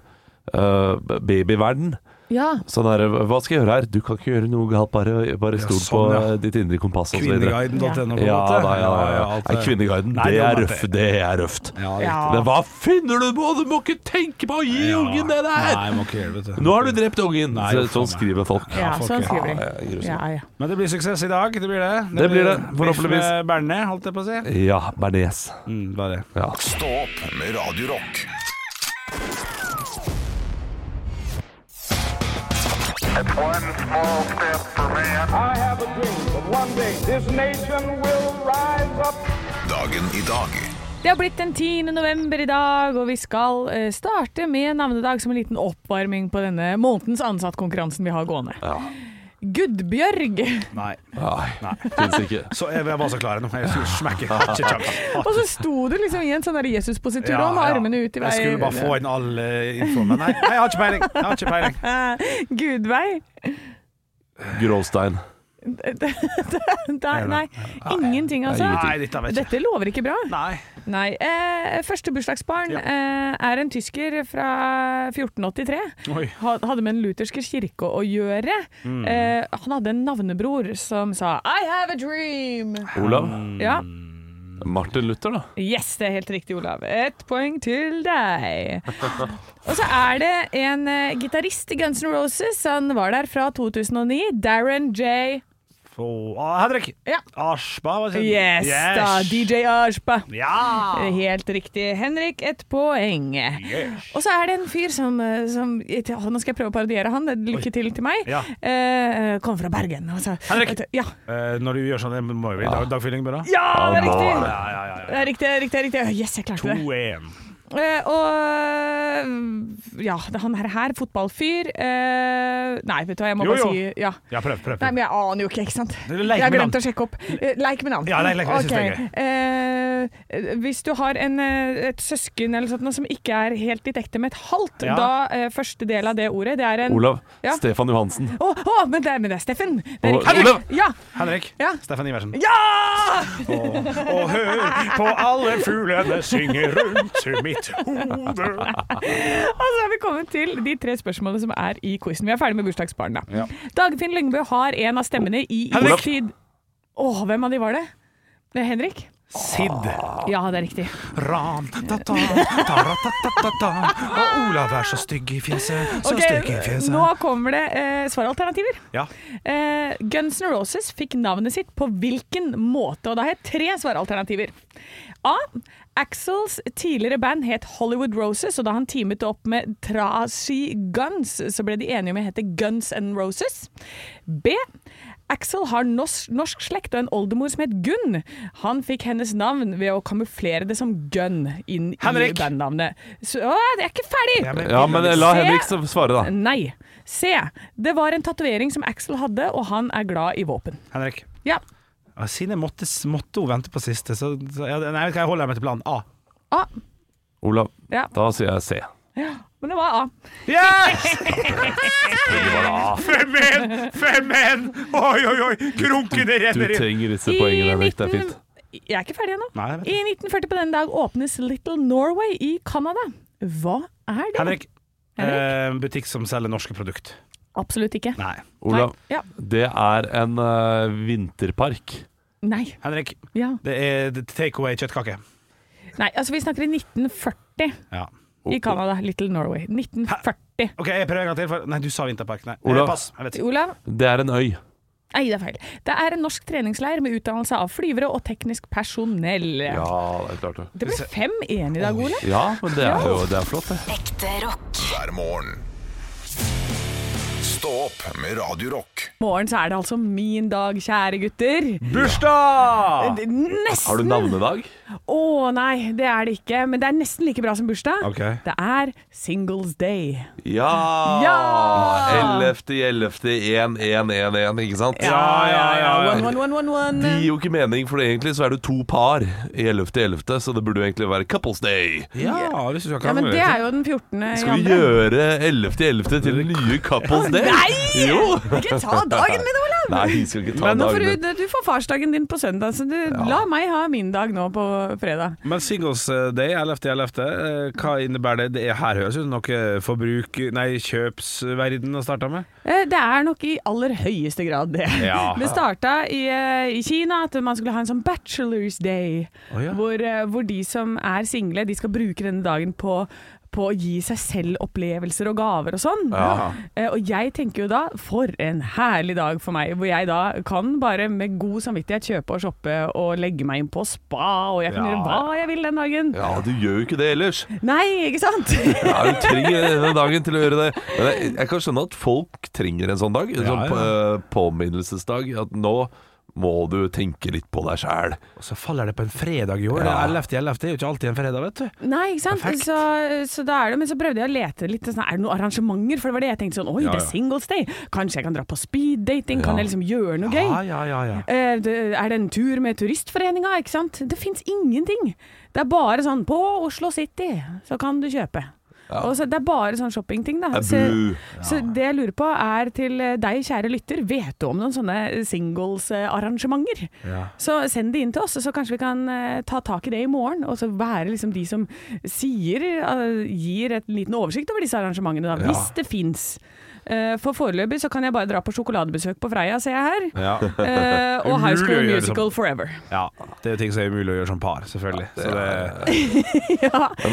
Speaker 3: eh, babyverden.
Speaker 5: Ja,
Speaker 3: Sånn her, hva skal jeg gjøre her? Du kan ikke gjøre noe galt, bare, bare
Speaker 4: Ja,
Speaker 3: stol
Speaker 4: sånn,
Speaker 3: på
Speaker 4: ja.
Speaker 3: eh, ditt indre kompass og så videre.
Speaker 4: Kvinneguiden.no, på en måte.
Speaker 3: Ja, da, ja, ja, ja.
Speaker 4: alt
Speaker 3: Nei,
Speaker 4: det-
Speaker 3: Kvinneguiden,
Speaker 4: Nei,
Speaker 3: det
Speaker 4: var
Speaker 3: er
Speaker 4: det.
Speaker 3: røft. Det er røft.
Speaker 4: Ja,
Speaker 5: Ja.
Speaker 4: riktig.
Speaker 3: Men hva finner du på?! Du må ikke tenke på å gi
Speaker 4: Ja.
Speaker 3: ungen det der!
Speaker 4: Nei, må ikke gjøre det, vet du.
Speaker 3: Nå har du drept ungen!
Speaker 4: Nei,
Speaker 3: Så-
Speaker 4: faen
Speaker 3: sånn
Speaker 4: meg.
Speaker 3: skriver folk.
Speaker 5: ja,
Speaker 4: folk,
Speaker 5: sånn
Speaker 4: ja.
Speaker 5: skriver de.
Speaker 3: Ja, det er grusomt.
Speaker 5: Ja, ja.
Speaker 4: Men det blir suksess i dag, det blir det.
Speaker 3: Det blir det, forhåpentligvis.
Speaker 4: biff med Berne, holdt jeg på å si.
Speaker 3: Ja, Bernes.
Speaker 4: Mm, bare det.
Speaker 3: Ja.
Speaker 2: Stå opp med Radio Rock.
Speaker 7: I have a dream that one day this nation will rise up.
Speaker 2: Dagen i dag
Speaker 5: Det har blitt den 10. november i dag, og vi skal eh, starte med navnedag som en liten oppvarming på denne månedens ansattkonkurransen vi har gående.
Speaker 3: Ja.
Speaker 5: Gudbjørg! [LAUGHS]
Speaker 4: Nei.
Speaker 3: Nei, fins ikke.
Speaker 4: Så eh, jeg, jeg var så klar nå. Jeg skulle
Speaker 3: [LAUGHS]
Speaker 4: smekke. Ikke kjapt.
Speaker 5: Og så sto du liksom i en sånn der Jesus-positur og med armene ut i
Speaker 4: Jeg skulle bare få
Speaker 5: veien.
Speaker 4: inn all eh, info, men nei, nei, jeg har ikke peiling. Jeg har ikke peiling.
Speaker 5: [LAUGHS] Gudvei?
Speaker 3: Gråstein.
Speaker 5: Der, nei. Ingenting, altså.
Speaker 3: Nei,
Speaker 4: Nei, dette vet jeg ikke.
Speaker 5: Dette lover ikke bra.
Speaker 4: Nei.
Speaker 5: Nei. Eh, første bursdagsbarn
Speaker 4: Ja.
Speaker 5: eh, er en tysker fra 1483.
Speaker 4: Oi. Mm.
Speaker 5: ha- hadde med en lutherske kirke å gjøre. Eh, han hadde en navnebror som sa 'I have a dream'.
Speaker 3: Olav.
Speaker 4: Mm.
Speaker 5: Ja,
Speaker 3: Martin Luther, da.
Speaker 5: Yes, det er helt riktig, Olav. Ett poeng til deg. Og så er det en eh, gitarist i Guns N' Roses. Han var der fra 2009. Darren J.
Speaker 4: Få- ah, Henrik.
Speaker 5: Ja.
Speaker 4: Aschba, hva sier du?
Speaker 5: Yes, da. DJ Ashpa.
Speaker 4: Ja.
Speaker 5: Helt riktig. Henrik, ett poeng.
Speaker 4: Yes.
Speaker 5: Og så er det en fyr som, eh, som å, Nå skal jeg prøve å parodiere han. eh, Lykke til til meg.
Speaker 4: Ja.
Speaker 5: Eh, kom fra Bergen. Og så,
Speaker 4: Henrik.
Speaker 5: Ja.
Speaker 4: Eh, når du gjør sånn, det må jo bli dag, dagfylling, bør da.
Speaker 5: Ja, det er riktig!
Speaker 4: Ja, ja, ja. ja.
Speaker 5: Det er riktig, det er riktig, det er riktig. Yes, jeg klarte det.
Speaker 4: 2-1.
Speaker 5: Eh, og eh, ja, det er han her, her fotballfyr eh, Nei, vet du hva, jeg må
Speaker 4: Jo,
Speaker 5: bare
Speaker 4: jo.
Speaker 5: si ja.
Speaker 4: Ja, prøv, prøv.
Speaker 5: Nei,
Speaker 4: prøv.
Speaker 5: men jeg aner jo ikke, ikke sant?
Speaker 4: Det er leik
Speaker 5: jeg
Speaker 4: med
Speaker 5: glemte
Speaker 4: navn.
Speaker 5: å sjekke opp. Eh, Leik med navn.
Speaker 4: Ja, leik- leik, jeg synes det er
Speaker 5: Ok. Eh, hvis du har en, eh, et søsken eller sånt, noe som ikke er helt ditt ekte med et halvt,
Speaker 4: Ja.
Speaker 5: da eh, første del av det ordet, det er en
Speaker 3: Olav.
Speaker 5: Ja.
Speaker 3: Stefan Johansen.
Speaker 5: Å, å, men, det er, men det er Steffen! Det er
Speaker 3: Og-
Speaker 5: riktig.
Speaker 3: Olav!
Speaker 5: Ja!
Speaker 4: Henrik.
Speaker 5: Ja.
Speaker 4: Steffen Iversen.
Speaker 5: ja!
Speaker 4: Og hør på alle fuglene synge rundt mitt hode.
Speaker 5: Og så er vi kommet til de tre spørsmålene som er i quizen. Vi er ferdig med bursdagsbarna.
Speaker 4: Ja.
Speaker 5: Dagfinn Lyngbø har en av stemmene i
Speaker 4: Henrik!
Speaker 5: istid... Å, hvem av de var det? Det er Henrik?
Speaker 4: Sid.
Speaker 5: Ja, det er riktig.
Speaker 4: Ran. Ta, ta, ta-ra-ta-ta-ta-ta. Og Olav er så stygg i fjeset. Så
Speaker 5: Ok,
Speaker 4: stygg i fjeset.
Speaker 5: nå kommer det eh, svaralternativer.
Speaker 4: Ja.
Speaker 5: Eh, Guns N' Roses fikk navnet sitt på hvilken måte? Og da har jeg tre svaralternativer. A. Axels tidligere band het Hollywood Roses, og da han teamet opp med Trashy Guns, så ble de enige om å hete Guns N' Roses. B. Axel har norsk, norsk slekt og en oldemor som het Gunn. Han fikk hennes navn ved å kamuflere det som Gunn inn
Speaker 4: Henrik!
Speaker 5: i bandnavnet. Så, å, jeg er ikke ferdig!
Speaker 4: Ja, men,
Speaker 3: Ja, men la
Speaker 5: Se-
Speaker 3: Henrik svare, da.
Speaker 5: Nei. C. Det var en tatovering som Axel hadde, og han er glad i våpen.
Speaker 4: Henrik.
Speaker 5: Ja.
Speaker 4: Ja, Siden jeg måtte, måtte hun vente på siste, så, så ja, Nei, jeg holder meg til planen A.
Speaker 5: A.
Speaker 3: Olav.
Speaker 5: Ja.
Speaker 3: Da sier jeg C.
Speaker 5: Men det var A.
Speaker 4: Yes! [LAUGHS] Fem en! Fem en! Oi, oi, oi! Krunkene
Speaker 3: Du
Speaker 4: renner inn.
Speaker 3: trenger disse poengene, Henrik. Det er fint.
Speaker 5: Jeg er ikke ferdig ennå.
Speaker 4: Nei, jeg vet
Speaker 5: I 1940 på denne dag åpnes Little Norway i Canada. Hva er det?
Speaker 4: Henrik.
Speaker 5: Henrik?
Speaker 4: Eh, butikk som selger norske produkt.
Speaker 5: Absolutt ikke.
Speaker 4: Nei.
Speaker 3: Olav.
Speaker 5: Nei. Ja.
Speaker 3: Det er en eh, vinterpark.
Speaker 5: Nei.
Speaker 4: Henrik,
Speaker 5: Ja.
Speaker 4: det er det- take away kjøttkake.
Speaker 5: Nei, altså vi snakker i 1940
Speaker 4: Ja.
Speaker 5: i Canada. Little Norway. 1940.
Speaker 4: OK, jeg prøver en gang til. For, nei, du sa Vinterpark. Nei. Eh,
Speaker 3: Olav.
Speaker 4: Pass. Jeg vet ikke.
Speaker 5: Olav?
Speaker 3: Det er en øy.
Speaker 5: Nei, det er feil. Det er en norsk treningsleir med utdannelse av flyvere og teknisk personell.
Speaker 3: Ja, det er klart det.
Speaker 5: Det ble 5-1 i dag, Olav.
Speaker 3: Ja, men det er jo det er flott, det.
Speaker 6: Ekte rock.
Speaker 2: hver morgen. Stå opp med Radio Rock.
Speaker 5: morgen så er det altså min dag, kjære gutter.
Speaker 4: Bursdag!
Speaker 5: Det- Nesten.
Speaker 3: Mm. Har du navnedag?
Speaker 5: Å nei, det er det ikke. Men det er nesten like bra som bursdag.
Speaker 4: Ok.
Speaker 5: Det er Singles Day.
Speaker 3: Ja!
Speaker 5: Ja!
Speaker 3: 11.11.1111, ikke sant?
Speaker 4: Ja, ja, ja, ja.
Speaker 5: One, one, one, one, one.
Speaker 3: Det gir jo ikke mening, for egentlig så er du to par i 11.11., så det burde jo egentlig være couples day.
Speaker 4: Ja, hvis du skal
Speaker 5: Ja, men det er jo den 14.
Speaker 3: Skal vi gjøre 11.11. til den nye couples day?
Speaker 5: Nei!
Speaker 3: Jo!
Speaker 5: Ikke ta dagen min, Olav!
Speaker 3: Nei, vi skal ikke ta
Speaker 5: Men nå får
Speaker 3: dagen.
Speaker 5: du, du får farsdagen din på søndag, så du, la meg ha min dag nå på fredag.
Speaker 4: Men Singles Day, 11.11., eh, hva innebærer det? det er, her høres ut som noe forbruk... Nei, kjøpsverden har starta med.
Speaker 5: Eh, Det er nok i aller høyeste grad det.
Speaker 4: Ja.
Speaker 5: [LAUGHS] Det starta i, eh, i Kina at man skulle ha en sånn bachelor's day,
Speaker 4: Å, ja.
Speaker 5: hvor, eh, hvor de som er single, de skal bruke denne dagen på på å gi seg selv opplevelser og gaver og sånn.
Speaker 3: Ja.
Speaker 5: Eh, Og jeg tenker jo da, for en herlig dag for meg, hvor jeg da kan bare med god samvittighet kjøpe og shoppe og legge meg inn på spa, og jeg kan
Speaker 4: Ja.
Speaker 5: gjøre hva jeg vil den dagen.
Speaker 3: Ja, du gjør jo ikke det ellers.
Speaker 5: Nei, ikke
Speaker 4: [LAUGHS]
Speaker 5: sant?
Speaker 3: Ja, du trenger denne dagen til å gjøre det. Men jeg, jeg kan skjønne at folk trenger en sånn dag. En sånn
Speaker 4: ja.
Speaker 3: eh, påminnelsesdag. At nå må du tenke litt på deg sjæl.
Speaker 4: Og så faller det på en fredag i år.
Speaker 3: Ja.
Speaker 4: 11.11. er jo ikke alltid en fredag, vet du.
Speaker 5: Nei, ikke sant?
Speaker 4: Perfekt.
Speaker 5: Så, så da er det, men så prøvde jeg å lete litt. Sånn, er det noen arrangementer? For det var det jeg tenkte sånn, oi,
Speaker 4: Ja,
Speaker 5: det
Speaker 4: ja.
Speaker 5: er singles day. Kanskje jeg kan dra på speeddating?
Speaker 3: Ja.
Speaker 5: Kan jeg liksom gjøre noe
Speaker 4: Ja,
Speaker 5: gøy?
Speaker 4: ja, ja, ja.
Speaker 5: Eh, det, er det en tur med turistforeninga? Ikke sant? Det fins ingenting. Det er bare sånn På Oslo City så kan du kjøpe. Og så, det er bare sånn shoppingting, da. Så,
Speaker 3: Abu.
Speaker 5: så det jeg lurer på er til eh, deg, kjære lytter, vet du om noen sånne eh, singles-arrangementer?
Speaker 4: Ja.
Speaker 5: Så send det inn til oss, så kanskje vi kan eh, ta tak i det i morgen. Og så være liksom de som sier, eh, gir et liten oversikt over disse arrangementene, da, hvis det fins. Eh, for foreløpig så kan jeg bare dra på sjokoladebesøk på Freia, ser jeg her.
Speaker 4: Ja.
Speaker 5: Eh, og
Speaker 4: Umulig å
Speaker 5: High School
Speaker 4: gjøre
Speaker 5: Musical Forever.
Speaker 4: ja. Det er jo ting som er umulig å gjøre som par, selvfølgelig. Så det,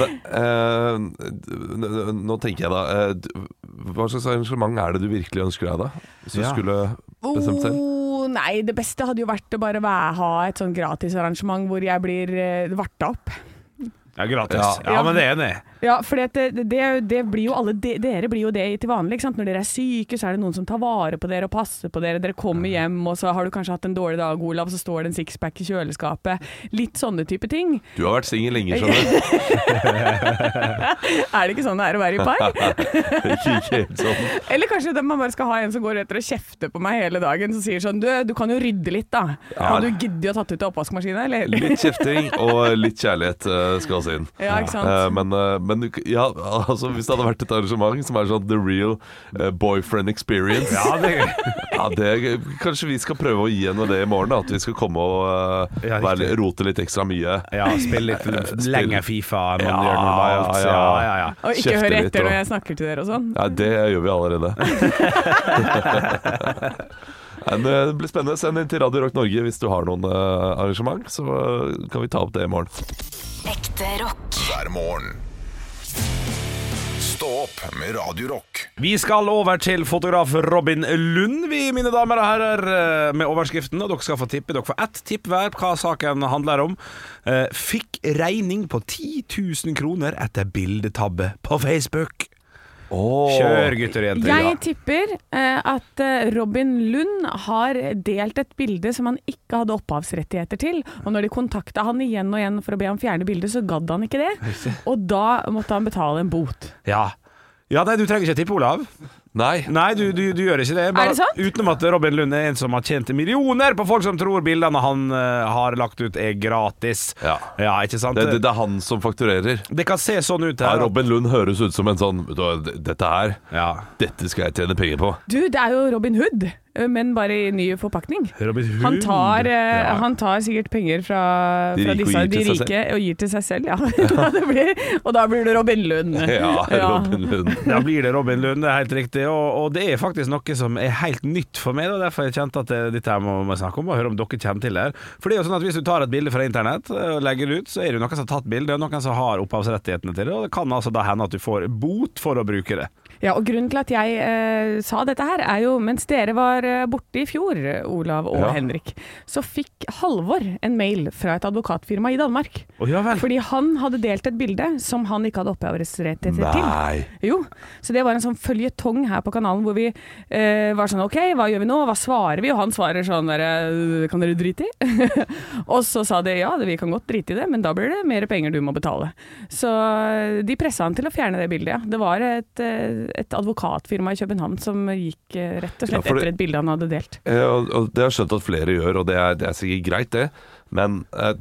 Speaker 3: Men, eh, n- n- nå tenker jeg da eh, d- Hva slags arrangement er det du virkelig ønsker deg, da? Hvis du
Speaker 4: Ja.
Speaker 3: skulle bestemt selv?
Speaker 5: Oh, nei, det beste hadde jo vært å bare være, ha et sånn gratisarrangement hvor jeg blir eh, varta opp.
Speaker 4: ja, gratis.
Speaker 3: Ja.
Speaker 4: Ja, men det er enig.
Speaker 5: Ja, for det, det, det, er jo- det blir jo alle, de, dere blir jo det til vanlig. Ikke sant? Når dere er syke, så er det noen som tar vare på dere og passer på dere. Dere kommer hjem, og så har du kanskje hatt en dårlig dag, Olav, så står det en sixpack i kjøleskapet. Litt sånne type ting.
Speaker 3: Du har vært singel lenge, skjønner du.
Speaker 5: Er det ikke sånn det er å være
Speaker 3: [LAUGHS]
Speaker 5: i par?
Speaker 3: Ikke helt sånn.
Speaker 5: Eller kanskje det- man bare skal ha en som går etter og kjefter på meg hele dagen, som sier sånn Du, du kan jo rydde litt, da.
Speaker 3: Ja.
Speaker 5: Hadde du giddet å tatt ut av oppvaskmaskina, eller?
Speaker 3: Litt kjefting og litt kjærlighet eh, skal også inn.
Speaker 5: Ja, ikke sant?
Speaker 3: Eh, men eh, men du k- ja, altså, hvis det hadde vært et arrangement som er sånn the real eh, boyfriend experience
Speaker 4: Ja, det
Speaker 3: ja, det, Kanskje vi skal prøve å gi henne det i morgen? da, At vi skal komme og eh,
Speaker 4: Ja, riktig.
Speaker 3: være litt- rote litt ekstra mye.
Speaker 4: ja, spill litt
Speaker 3: Spill.
Speaker 4: lenger Fifa enn man
Speaker 3: Ja,
Speaker 4: gjør normalt.
Speaker 3: ja,
Speaker 4: Ja,
Speaker 3: ja.
Speaker 4: ja, ja.
Speaker 5: [LAUGHS] Og ikke
Speaker 3: kjefter
Speaker 5: høre
Speaker 3: litt,
Speaker 5: etter
Speaker 3: da.
Speaker 5: når jeg snakker til dere og sånn.
Speaker 3: Ja, det gjør vi
Speaker 4: [LAUGHS]
Speaker 3: allerede. [LAUGHS] Nei, men eh, Det blir spennende. Send inn til Radio Rock Norge hvis du har noen eh, arrangement, så eh, kan vi ta opp det i morgen.
Speaker 6: Ekte rock.
Speaker 2: hver morgen. Stå opp med Radio Rock.
Speaker 4: Vi skal over til fotograf Robin Lund, vi, mine damer og herrer, eh, med overskriften. Og dere skal få tippe. Dere får ett tipp hver på hva saken handler om. Eh, Fikk regning på 10 000 kroner etter bildetabbe på Facebook. Kjør, gutter og jenter.
Speaker 5: Jeg tipper eh, at eh, Robin Lund har delt et bilde som han ikke hadde opphavsrettigheter til. Og når de kontakta han igjen og igjen for å be ham fjerne bildet, så gadd han ikke
Speaker 3: [LAUGHS]
Speaker 5: det. Og da måtte han betale en bot.
Speaker 4: Ja. ja, nei, du trenger ikke tippe, Olav.
Speaker 3: Nei.
Speaker 4: Nei, du, du, du gjør ikke det.
Speaker 5: Er det sant?
Speaker 4: Utenom at Robin Lund er en som har tjent millioner på folk som tror bildene han eh, har lagt ut, er gratis.
Speaker 3: Ja.
Speaker 4: ikke sant?
Speaker 3: Det, det, det er han som fakturerer.
Speaker 4: Det kan se sånn ut
Speaker 3: Ja,
Speaker 4: her.
Speaker 3: Robin Lund høres ut som en sånn vet du hva, d- Dette her,
Speaker 4: Ja.
Speaker 3: dette skal jeg tjene
Speaker 4: [LAUGHS]
Speaker 3: penger på.
Speaker 5: Du, det er jo Robin Hood, eh, men bare i ny forpakning.
Speaker 4: Robin Hood.
Speaker 5: Han tar, eh,
Speaker 4: Ja.
Speaker 5: han tar sikkert penger fra,
Speaker 3: De
Speaker 5: fra
Speaker 3: rike og gir til seg
Speaker 5: disse, de rike og gir til seg selv. Ja. [LAUGHS] Da det blir, og da blir det Robin
Speaker 3: [LAUGHS]
Speaker 5: Lund.
Speaker 3: Ja,
Speaker 5: Ja.
Speaker 3: Robin Lund.
Speaker 4: Da blir det Robin Lund, det er helt riktig. Og, og det er faktisk noe som er helt nytt for meg. Og derfor jeg kjente at det- dette her må vi snakke om, og høre om dere kommer til det. her. For det er jo sånn at hvis du tar et bilde fra internett eh, og legger det ut, så er det jo noen som har tatt bildet, og noen som har opphavsrettighetene til det. Og det kan altså da hende at du får bot for å bruke det.
Speaker 5: Ja, og Grunnen til at jeg eh, sa dette her, er jo mens dere var eh, borte i fjor, Olav og
Speaker 3: Ja.
Speaker 5: Henrik, så fikk Halvor en mail fra et advokatfirma i Danmark.
Speaker 4: Å, ja vel.
Speaker 5: Fordi han hadde delt et bilde som han ikke hadde opphavsrettigheter til.
Speaker 3: Nei.
Speaker 5: Jo, så det var en sånn føljetong her på kanalen hvor vi eh, var sånn OK, hva gjør vi nå, hva svarer vi? Og han svarer sånn derre Kan dere drite i? [LAUGHS] og så sa de ja, vi kan godt drite i det, men da blir det mer penger du må betale. Så eh, de pressa han til å fjerne det bildet, ja. Det var et, eh, et advokatfirma i København som gikk eh, rett og
Speaker 3: Ja,
Speaker 5: slett
Speaker 3: for det-
Speaker 5: etter et bilde han hadde delt.
Speaker 3: Eh, og, og det har jeg skjønt at flere gjør, og det er, det er sikkert greit, det. Men eh,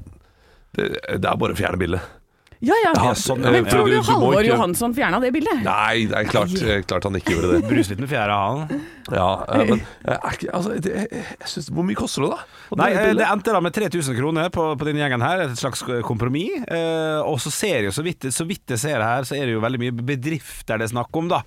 Speaker 3: det, det er bare å fjerne bildet.
Speaker 5: Ja ja,
Speaker 3: Ja, sånn, ja,
Speaker 5: men tror
Speaker 3: du-
Speaker 5: du,
Speaker 3: du må
Speaker 5: Halvor
Speaker 3: ikke-
Speaker 5: Johansson fjerna det bildet?
Speaker 3: Nei, det er klart, eh, klart han ikke gjorde
Speaker 4: [LAUGHS]
Speaker 3: det.
Speaker 4: Brus litt med fjæra, han.
Speaker 3: Ja, eh, men eh, er ikke- altså, det, jeg synes, Hvor mye koster det, da? Å
Speaker 4: Nei,
Speaker 3: dele
Speaker 4: eh,
Speaker 3: bildet?
Speaker 4: det endte da med 3000 kroner på, på denne gjengen her, et slags kompromiss. Eh, og så ser jeg jo så vidt, så vidt jeg ser her, så er det jo veldig mye bedrifter det er snakk om, da.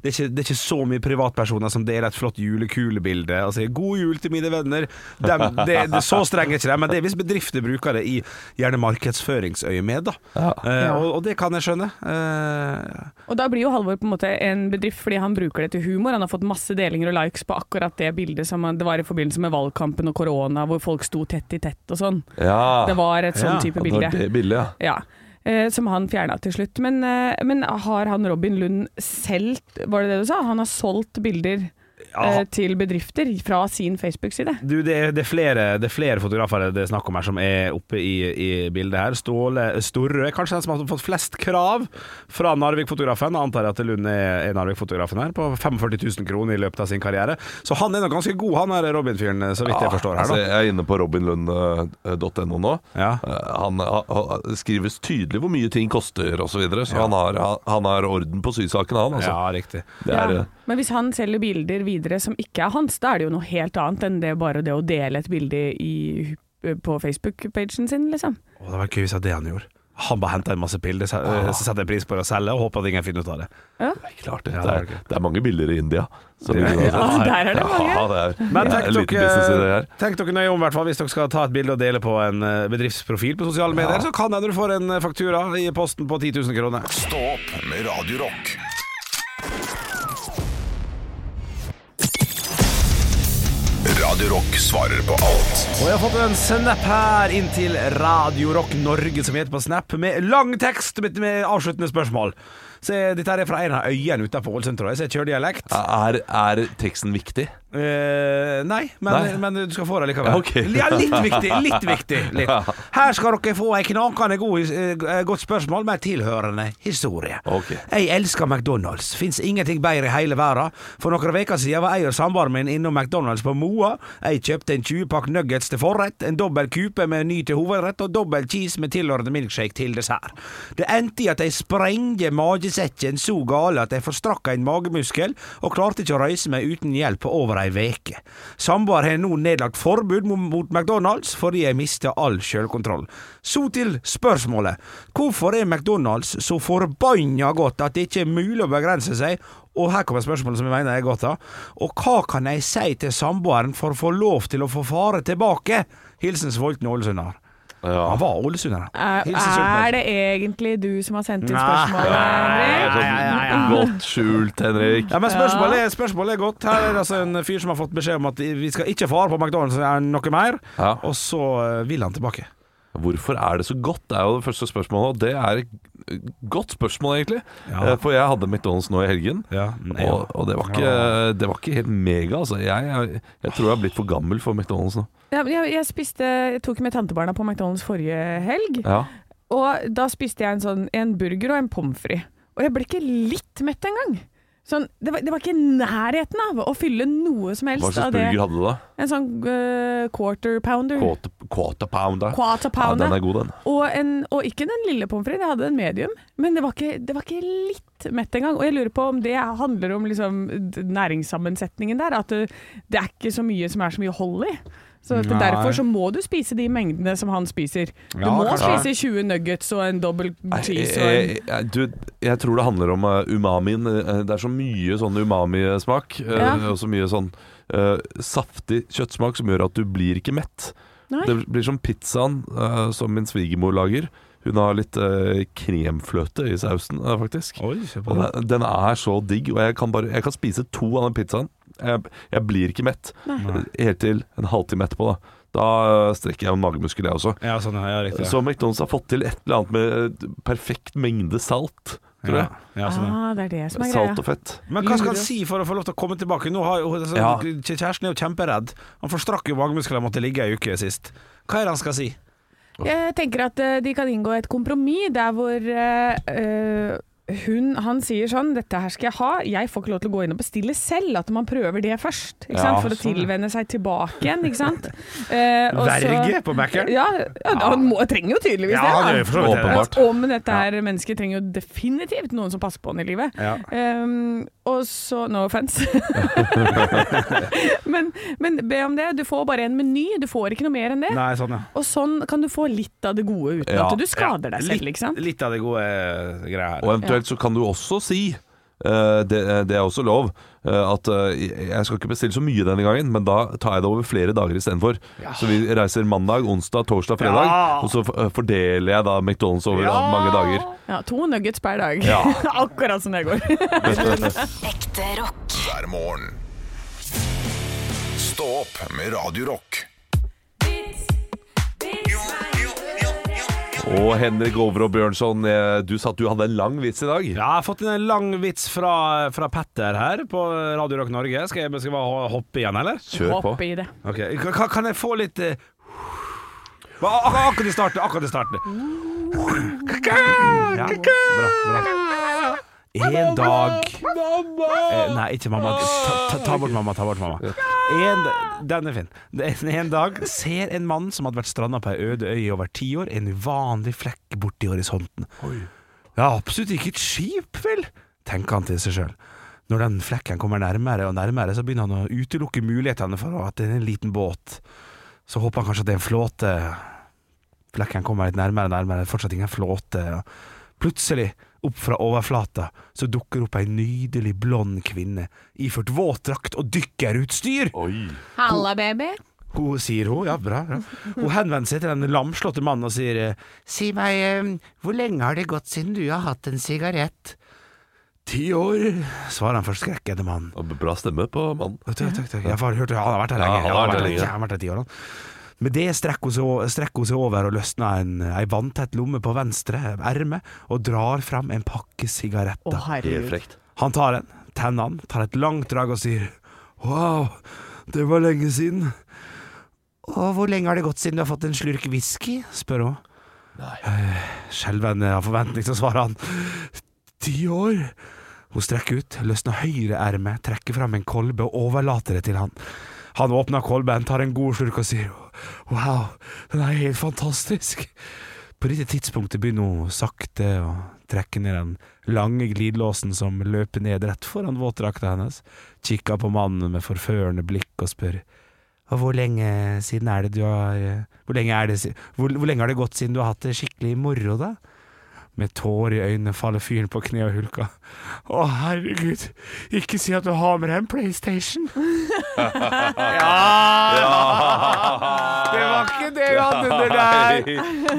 Speaker 4: Det er, ikke, det er ikke så mye privatpersoner som deler et flott julekulebilde og sier 'god jul til mine venner'. [LAUGHS] Dem, det, det, så strenge er ikke de, men det er hvis bedrifter bruker det i gjerne markedsføringsøyemed, da. Eh, og, og det kan jeg skjønne. Eh,
Speaker 5: Og da blir jo Halvor på en måte en bedrift fordi han bruker det til humor. Han har fått masse delinger og likes på akkurat det bildet som han, det var i forbindelse med valgkampen og korona, hvor folk sto tett i tett og sånn.
Speaker 3: Ja.
Speaker 5: Det var et
Speaker 4: Ja,
Speaker 5: sånn type
Speaker 3: Ah, Ja, Det var
Speaker 5: bilde.
Speaker 3: det bildet, ja.
Speaker 5: Ja. Eh, som han fjerna til slutt. Men, eh, men har han Robin Lund selv Var det det du sa? Han har solgt bilder eh,
Speaker 4: ja,
Speaker 5: til bedrifter fra sin Facebook-side.
Speaker 4: Du, det er, det, er flere, det er flere fotografer det er snakk om her som er oppe i, i bildet her. Ståle Storrø er kanskje den som har fått flest krav fra Narvik-fotografen. Jeg Antar at Lund er, er Narvik-fotografen her, på 45 000 kroner i løpet av sin karriere. Så han er nok ganske god, han her Robin-fyren, så vidt jeg forstår her.
Speaker 3: Altså,
Speaker 4: Da.
Speaker 3: jeg er inne på eh, robinlund.no nå.
Speaker 4: Ja.
Speaker 3: Eh, Han, han, han skrives tydelig hvor mye ting koster osv., så, videre, så han, har, han- han har orden på sysaken, han. Altså.
Speaker 4: Ja, riktig.
Speaker 3: Det er,
Speaker 5: Ja, Men hvis han selger bilder videre som ikke er hans, da er det jo noe helt annet enn det bare det å dele et bilde i, på Facebook-pagen sin, liksom.
Speaker 4: Å, det var gøy hvis det var det han gjorde. Han bare henta en masse bilder, så så setter jeg pris på det å selge, og håper at ingen finner ut av det.
Speaker 3: det er eh, klart det.
Speaker 4: Ja,
Speaker 3: det,
Speaker 4: det er
Speaker 3: er,
Speaker 4: det.
Speaker 3: det er mange bilder i India. Så
Speaker 4: Det er-
Speaker 3: vi-
Speaker 5: Ja, der er det mange.
Speaker 3: Ja, det er,
Speaker 4: Men
Speaker 3: det
Speaker 4: tenk
Speaker 3: er en liten business i det
Speaker 4: dere,
Speaker 3: her.
Speaker 4: tenk dere nøye om hvert fall, hvis dere skal ta et bilde og dele på en eh, bedriftsprofil på sosiale medier, så kan hende du får en eh, faktura i posten på 10 000 kroner.
Speaker 2: Stå opp med Radio Rock. Radio Rock svarer på alt
Speaker 4: Og jeg har fått en snap her inn til Radio Rock Norge, som heter på Snap, med lang tekst med, med avsluttende spørsmål. Så eh, dette her er fra en av øyene utenfor Ålesund, tror jeg, så jeg kjører dialekt.
Speaker 3: Er, er teksten viktig?
Speaker 4: Eh, nei, men,
Speaker 3: Nei.
Speaker 4: men du skal få det likevel.
Speaker 3: Ja, ok.
Speaker 4: Ja, litt viktig. Litt viktig.
Speaker 3: [LAUGHS]
Speaker 4: Litt. Her skal dere få ei knakende god, his- eh, godt spørsmål med tilhørende historie.
Speaker 3: Ok.
Speaker 4: Jeg elsker McDonald's. Fins ingenting bedre i hele verden. For noen uker siden var jeg og samboeren min innom McDonald's på Moa. Jeg kjøpte en 20-pakk nuggets til forrett, en dobbel kupe med ny til hovedrett og dobbel cheese med tilhørende milkshake til dessert. Det endte i at jeg sprengte magesekken så gale at jeg forstrakk en magemuskel og klarte ikke å reise meg uten hjelp på over ei veke. Samboer har nå nedlagt forbud mot- mot McDonald's fordi jeg mista all sjølkontroll. Så til spørsmålet. Hvorfor er McDonald's så forbanna godt at det ikke er mulig å begrense seg? Og her kommer spørsmålet som jeg mener er godt, da. Og hva kan jeg si til samboeren for å få lov til å få fare tilbake? Hilsen Svolten Ålesunder. Han var ålesunder.
Speaker 5: Er,
Speaker 4: Hilsen Svolten.
Speaker 5: er det egentlig du som har sendt inn
Speaker 4: Nei.
Speaker 5: spørsmålet, Henrik?
Speaker 4: Nei, nei, nei, nei.
Speaker 3: Altså, Godt skjult, Henrik.
Speaker 4: Ja, men spørsmålet er, spørsmålet er godt. Her er det altså en fyr som har fått beskjed om at vi skal ikke fare på McDonald's eller noe mer,
Speaker 3: Ja.
Speaker 4: og så eh, vil han tilbake.
Speaker 3: Hvorfor er det så godt? Det er jo det første spørsmålet. Og det er et godt spørsmål, egentlig.
Speaker 4: Ja.
Speaker 3: Eh, For jeg hadde McDonald's nå i helgen.
Speaker 4: Ja, nei, ja.
Speaker 3: og, og det, var ikke, det var ikke helt mega, altså. Jeg, jeg, jeg tror jeg har blitt for gammel for McDonald's nå.
Speaker 5: Ja, men jeg, jeg, spiste, jeg tok med tantebarna på McDonald's forrige helg,
Speaker 3: Ja.
Speaker 5: og da spiste jeg en, sånn, en burger og en pommes frites. Og jeg ble ikke litt mett engang. Sånn, det, var- det var ikke i nærheten av å fylle noe som helst
Speaker 3: Hva slags
Speaker 5: av det.
Speaker 3: burger hadde du da?
Speaker 5: En sånn øh, quarter pounder.
Speaker 3: Quarter, quarter pounder.
Speaker 5: Quarter
Speaker 3: Ja,
Speaker 5: pounder.
Speaker 3: den er god, den.
Speaker 5: Og, en, og ikke den lille pommes frites, jeg hadde en medium. Men det var ikke, det var ikke litt mett engang. Og jeg lurer på om det handler om liksom, d- næringssammensetningen der. At det, det er ikke så mye som er så mye hold i. Så at
Speaker 4: Nei.
Speaker 5: Derfor så må du spise de mengdene som han spiser. Du
Speaker 4: Ja,
Speaker 5: må
Speaker 4: kanskje.
Speaker 5: spise 20 nuggets og en dobbel
Speaker 3: Nei, eh,
Speaker 5: cheese og en
Speaker 3: jeg, jeg, du, jeg tror det handler om eh, umamien. Eh, Det er så mye sånn umamismak eh,
Speaker 5: Ja.
Speaker 3: og så mye sånn eh, saftig kjøttsmak som gjør at du blir ikke mett.
Speaker 5: Nei.
Speaker 3: Det blir som pizzaen eh, som min svigermor lager. Hun har litt eh, kremfløte i sausen, eh, faktisk.
Speaker 4: Oi, se på
Speaker 3: Og
Speaker 4: det.
Speaker 3: den, den er så digg, og jeg kan, bare, jeg kan spise to av den pizzaen. Jeg, jeg blir ikke mett. Helt til en halvtime etterpå, da. Da eh, strekker jeg en magemuskel, jeg også.
Speaker 4: Ja, sånn, ja, riktig. Ja.
Speaker 3: Så McDonald's har fått til et eller annet med eh, perfekt mengde salt, tror
Speaker 4: Ja,
Speaker 3: jeg.
Speaker 4: ja, sånn, ja.
Speaker 5: Ah, det er det som er greia.
Speaker 3: Salt og fett.
Speaker 4: Men hva skal han si for å få lov til å komme tilbake? Nå har, jo- altså,
Speaker 3: Ja.
Speaker 4: Kjæresten er jo kjemperedd. Han forstrakk jo magemusklene og måtte ligge ei uke sist. Hva er det han skal si?
Speaker 5: Jeg tenker at eh, de kan inngå et kompromiss der hvor eh, eh, hun, han sier sånn 'Dette her skal jeg ha, jeg får ikke lov til å gå inn og bestille selv.' At man prøver det først, ikke sant?
Speaker 3: Ja,
Speaker 5: for å
Speaker 3: sånn, ja.
Speaker 5: tilvenne seg tilbake igjen. Ikke sant? [LAUGHS] Eh, og så-
Speaker 4: Verge på Mækkern?
Speaker 5: Ja, ja, han må, trenger jo tydeligvis
Speaker 4: Ja,
Speaker 5: det. da.
Speaker 4: han gjør jo for så vidt det.
Speaker 3: Åpenbart.
Speaker 5: Å, men dette her mennesket trenger jo definitivt noen som passer på han i livet.
Speaker 4: Ja.
Speaker 5: Ehm, og så No
Speaker 4: [LAUGHS]
Speaker 5: offense. [LAUGHS] men, men be om det. Du får bare en meny, du får ikke noe mer enn det.
Speaker 4: Nei, sånn, ja.
Speaker 5: Og sånn kan du få litt av det gode uten
Speaker 3: Ja,
Speaker 5: at du skader deg selv, ikke sant?
Speaker 4: Litt, litt av det gode eh, greia her.
Speaker 3: Og eventuelt så kan du også si eh, det, det er også lov eh, at eh, jeg skal ikke bestille så mye denne gangen, men da tar jeg det over flere dager istedenfor. Så vi reiser mandag, onsdag, torsdag, fredag,
Speaker 4: Ja.
Speaker 3: og så f- eh, fordeler jeg da McDonald's over
Speaker 4: Ja.
Speaker 3: mange
Speaker 4: [LAUGHS]
Speaker 3: dager.
Speaker 5: Ja, to nuggets per dag.
Speaker 3: Ja.
Speaker 5: [LAUGHS] Akkurat som det går.
Speaker 6: Ekte rock.
Speaker 2: hver morgen. Stå opp med Radio Rock.
Speaker 3: Og Henrik Over og Bjørnson, eh, du sa at du hadde en lang vits i dag.
Speaker 4: Ja, jeg har fått inn en lang vits fra, fra Petter her på Radio Rock Norge. Skal jeg, skal jeg bare hoppe igjen, eller?
Speaker 3: Kjør på.
Speaker 5: Opp i det.
Speaker 4: Ok, Kan, kan jeg få litt eh, Hva- ak Akkurat i starten. Akkurat i starten. Ja, bra, bra. En dag eh, Nei, ikke mamma. Ta, ta, ta bort mamma. ta bort mamma en, Den er fin. En, en dag ser en mann som hadde vært stranda på ei øde øy i over ti år, en uvanlig flekk borti horisonten. Det er absolutt ikke et skip, vel? tenker han til seg sjøl. Når den flekken kommer nærmere og nærmere, så begynner han å utelukke mulighetene for at det er en liten båt. Så håper han kanskje at det er en flåte. Flekken kommer litt nærmere og nærmere, fortsatt ingen flåte. Plutselig, opp fra overflata, så dukker opp ei nydelig blond kvinne iført våtdrakt og dykkerutstyr.
Speaker 5: Halla, baby.
Speaker 4: Hun sier hun, ja bra, bra. Hun henvender seg til den lamslåtte mannen og sier eh, Si meg, eh, hvor lenge har det gått siden du har hatt en sigarett? Ti år, svarer han forskrekkede mannen.
Speaker 3: Og Bra stemme på mannen.
Speaker 4: Å, Takk, takk, takk. Jeg har hørt, ja, han har vært her
Speaker 3: Ja,
Speaker 4: lenge.
Speaker 3: han har
Speaker 4: Ja, han har
Speaker 3: vært her
Speaker 4: vært her,
Speaker 3: lenge.
Speaker 4: ja, han har vært her ti år, han. Med det strekker hun seg, o- strekker hun seg over og løsner en, ei vanntett lomme på venstre erme og drar fram en pakke sigaretter.
Speaker 3: Helt frekt.
Speaker 4: Han tar en, tenner han, tar et langt drag og sier Wow, det var lenge siden. Og hvor lenge har det gått siden du har fått en slurk whisky? spør hun. Eh, Skjelvende av forventning så svarer han ti år. Hun strekker ut, løsner høyre erme, trekker fram en kolbe og overlater det til han. Han åpner kolben, tar en god slurk og sier wow, den er helt fantastisk. På dette tidspunktet begynner hun sakte å trekke ned den lange glidelåsen som løper ned rett foran våtdrakta hennes, kikker på mannen med forførende blikk og spør og hvor lenge siden er det du har hvor lenge, er det, si- hvor, hvor lenge har det gått siden du har hatt det skikkelig moro, da? Med tårer i øynene faller fyren på kne og hulker. Å, herregud, ikke si at du har med deg en PlayStation! [LAUGHS] ja! Det var ikke det vi hadde under der!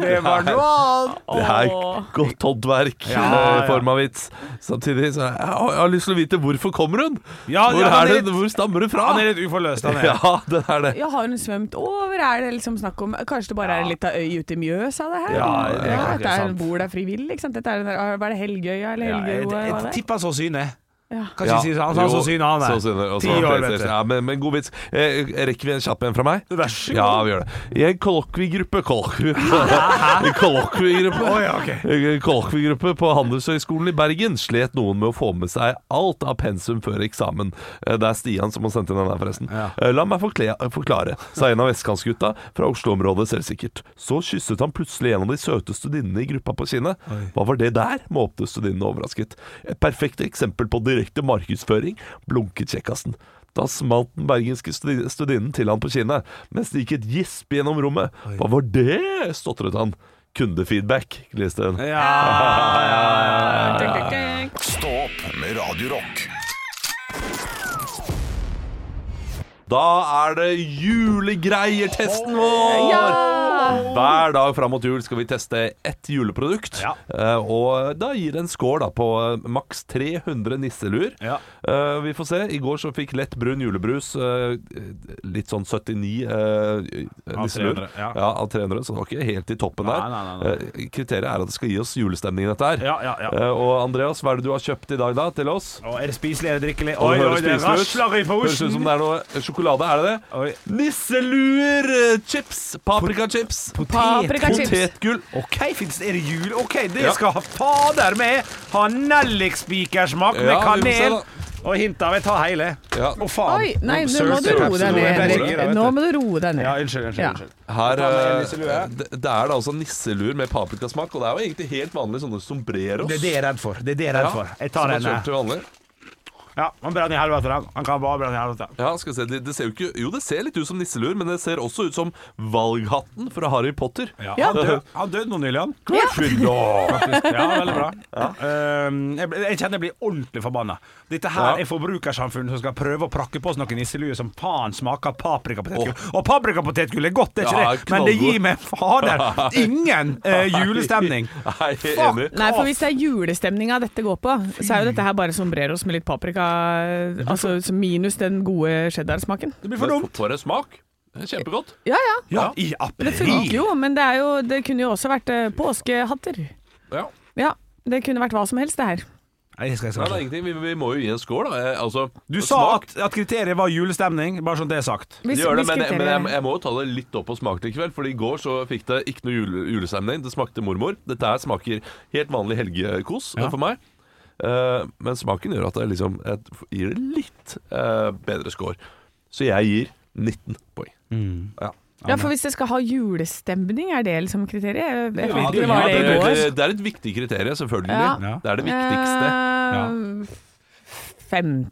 Speaker 4: Det var noe [LAUGHS] annet.
Speaker 3: Det er godt håndverk
Speaker 4: Ja,
Speaker 3: eh, i form av vits. Samtidig så har jeg, jeg har lyst til å vite hvorfor kommer hun?
Speaker 4: Ja,
Speaker 3: hvor,
Speaker 4: ja,
Speaker 3: er
Speaker 4: han er
Speaker 3: det,
Speaker 4: litt-
Speaker 3: hvor stammer hun fra?
Speaker 4: Han er litt uforløst, han er.
Speaker 3: Ja, det er det.
Speaker 5: Ja, har hun svømt over? Er det liksom snakk om Kanskje det bare er litt av øy ute i Mjøsa, det her?
Speaker 4: Ja, det er kanskje
Speaker 5: Dette er,
Speaker 4: sant.
Speaker 5: bor der frivillig, ikke sant? Dette er den der, var det Helgøya eller
Speaker 4: Ja, jeg,
Speaker 5: Helgeøya?
Speaker 4: jeg
Speaker 5: hva det er?
Speaker 4: tipper han så synet.
Speaker 5: Ja.
Speaker 4: Kanskje si han han så synet,
Speaker 3: er.
Speaker 4: han der.
Speaker 3: Så syne, og så
Speaker 4: Ti år,
Speaker 3: PlayStation.
Speaker 4: vet du.
Speaker 3: ja, men, men god vits. Eh, rekker vi en kjapp en fra meg?
Speaker 4: Vær så god.
Speaker 3: Ja, vi gjør det. I en kollokviegruppe [LAUGHS] Kollokviegruppe kollokviegruppe
Speaker 4: Å, ja, ok.
Speaker 3: En kollokviegruppe Eh, på Handelshøyskolen i Bergen slet noen med å få med seg alt av pensum før eksamen. Eh, Det er Stian som har sendt inn den her, forresten.
Speaker 4: Ja.
Speaker 3: Eh, La meg forkle- forklare, sa en av vestkantsgutta fra Oslo-området selvsikkert. Så kysset han plutselig en av de søte studinnene i gruppa på kinnet. Hva var det der? måpte studinnene overrasket. Et perfekt eksempel på direkte markedsføring, blunket kjekkasen. Da smalt den bergenske studi- studinnen til han på kinnet, mens det gikk et gisp gjennom rommet. Hva var det? stotret han. Kundefeedback, leste hun.
Speaker 4: Ja, ja, ja, ja.
Speaker 2: Stå opp med Radio Rock.
Speaker 3: Da er det julegreier-testen vår!
Speaker 5: Ja!
Speaker 3: Hver dag fram mot jul skal vi teste ett juleprodukt.
Speaker 4: Ja.
Speaker 3: Eh, og da gir det en score da, på eh, maks 300 nisseluer.
Speaker 4: Ja.
Speaker 3: Eh, vi får se. I går så fikk lett brun julebrus eh, litt sånn 79 eh, nisseluer
Speaker 4: 300, ja.
Speaker 3: av 300, så det var ikke helt i toppen
Speaker 4: Nei,
Speaker 3: der.
Speaker 4: nei, nei, nei.
Speaker 3: Eh, kriteriet er at det skal gi oss julestemning, dette her.
Speaker 4: Ja, ja, ja.
Speaker 3: Eh, og Andreas, hva er det du har kjøpt i dag da til oss?
Speaker 4: Å, er det spiselig, er det drikkelig?
Speaker 3: Og
Speaker 4: Oi, oi,
Speaker 3: høres
Speaker 4: det
Speaker 3: spiselig ut.
Speaker 4: rasler i
Speaker 3: Høres ut som
Speaker 4: posen!
Speaker 3: det er noe sjokolade, er det det?
Speaker 4: Oi.
Speaker 3: Nisseluer, eh, chips, paprikachips,
Speaker 5: Paprikachips.
Speaker 3: potetgull
Speaker 4: OK, fins det er det jul? OK, det
Speaker 3: Ja.
Speaker 4: skal ha fader med ha nellikspikersmak med
Speaker 3: Ja, vi får se
Speaker 4: kanel!
Speaker 3: da.
Speaker 4: Og hint av jeg tar hele. Å,
Speaker 3: Ja.
Speaker 4: faen.
Speaker 5: Oi, nei, nå må
Speaker 4: Søren,
Speaker 5: du
Speaker 4: søren,
Speaker 5: roe deg
Speaker 4: absolutt.
Speaker 5: ned,
Speaker 4: Jeg ble gira,
Speaker 5: Henrik.
Speaker 4: vet
Speaker 5: Nå
Speaker 4: du.
Speaker 5: må du roe deg ned.
Speaker 4: Ja, unnskyld, unnsnisseluer.
Speaker 5: Ja.
Speaker 4: unnskyld.
Speaker 3: Her,
Speaker 4: Ta med en
Speaker 3: eh,
Speaker 4: nisselue.
Speaker 3: det, det er da altså nisseluer med paprikasmak, og det er jo egentlig helt vanlig sånne sombreros.
Speaker 4: Det er det jeg er redd for. Det er det jeg er redd for. Jeg tar
Speaker 3: som man
Speaker 4: den.
Speaker 3: kjøper til vanlig.
Speaker 4: Ja, han brenner i helvete, han. Han kan bare brenne i helvete.
Speaker 3: Ja, skal vi se. Det, det ser jo ikke Jo, det ser litt ut som nisseluer, men det ser også ut som valghatten fra Harry Potter.
Speaker 5: Ja.
Speaker 4: Han døde han død nå nylig, han.
Speaker 3: [LAUGHS] Fy da.
Speaker 4: Ja, veldig bra. Ehm, jeg, ble- jeg kjenner jeg blir ordentlig forbanna. Dette her
Speaker 3: Ja.
Speaker 4: er forbrukersamfunn som skal prøve å prakke på oss noen nisseluer som faen smaker paprikapotetgull. Og paprikapotetgull er godt, det er ikke
Speaker 3: Ja,
Speaker 4: det, men det
Speaker 3: knallgodt.
Speaker 4: gir meg fader
Speaker 3: [LAUGHS]
Speaker 4: ingen eh, julestemning.
Speaker 3: Nei, jeg er
Speaker 4: Fuck.
Speaker 3: enig.
Speaker 5: Nei, for hvis det er julestemninga dette går på, så er jo dette her bare sombreros med litt paprika. Altså minus den gode cheddarsmaken.
Speaker 4: Det blir for dumt.
Speaker 3: For en smak. Det er Kjempegodt.
Speaker 5: Ja ja,
Speaker 4: Ja, i april.
Speaker 5: det funker jo, men det, er jo, det kunne jo også vært eh, påskehatter.
Speaker 3: Ja.
Speaker 5: Ja, det kunne vært hva som helst, det her.
Speaker 4: Nei, det skal
Speaker 3: Nei,
Speaker 4: jeg
Speaker 3: det
Speaker 4: skal
Speaker 3: er ingenting. Vi, vi må jo gi en skål, da. Eh, Altså,
Speaker 4: Du sa at, at kriteriet var julestemning, bare sånn det er sagt.
Speaker 5: Hvis-
Speaker 3: det gjør det,
Speaker 5: hvis
Speaker 3: men, men jeg,
Speaker 5: kriteriet-
Speaker 3: jeg må jo ta det litt opp og smake det i kveld. For i går så fikk det ikke noe jule, julestemning. Det smakte mormor. Dette her smaker helt vanlig helgekos eh,
Speaker 4: Ja.
Speaker 3: for meg. Eh, men smaken gjør at det liksom et, gir det litt eh, bedre score. Så jeg gir 19 poeng.
Speaker 4: Mm.
Speaker 3: Ja.
Speaker 5: Ja, for hvis det skal ha julestemning, er det liksom kriteriet? Jeg vet
Speaker 4: Ja,
Speaker 5: ikke,
Speaker 4: det-
Speaker 5: det var
Speaker 4: ja,
Speaker 5: det i
Speaker 3: det,
Speaker 5: går.
Speaker 3: det, det er et viktig kriterium, selvfølgelig.
Speaker 5: Ja.
Speaker 4: Ja.
Speaker 3: Det er det viktigste.
Speaker 5: Eh, Fem.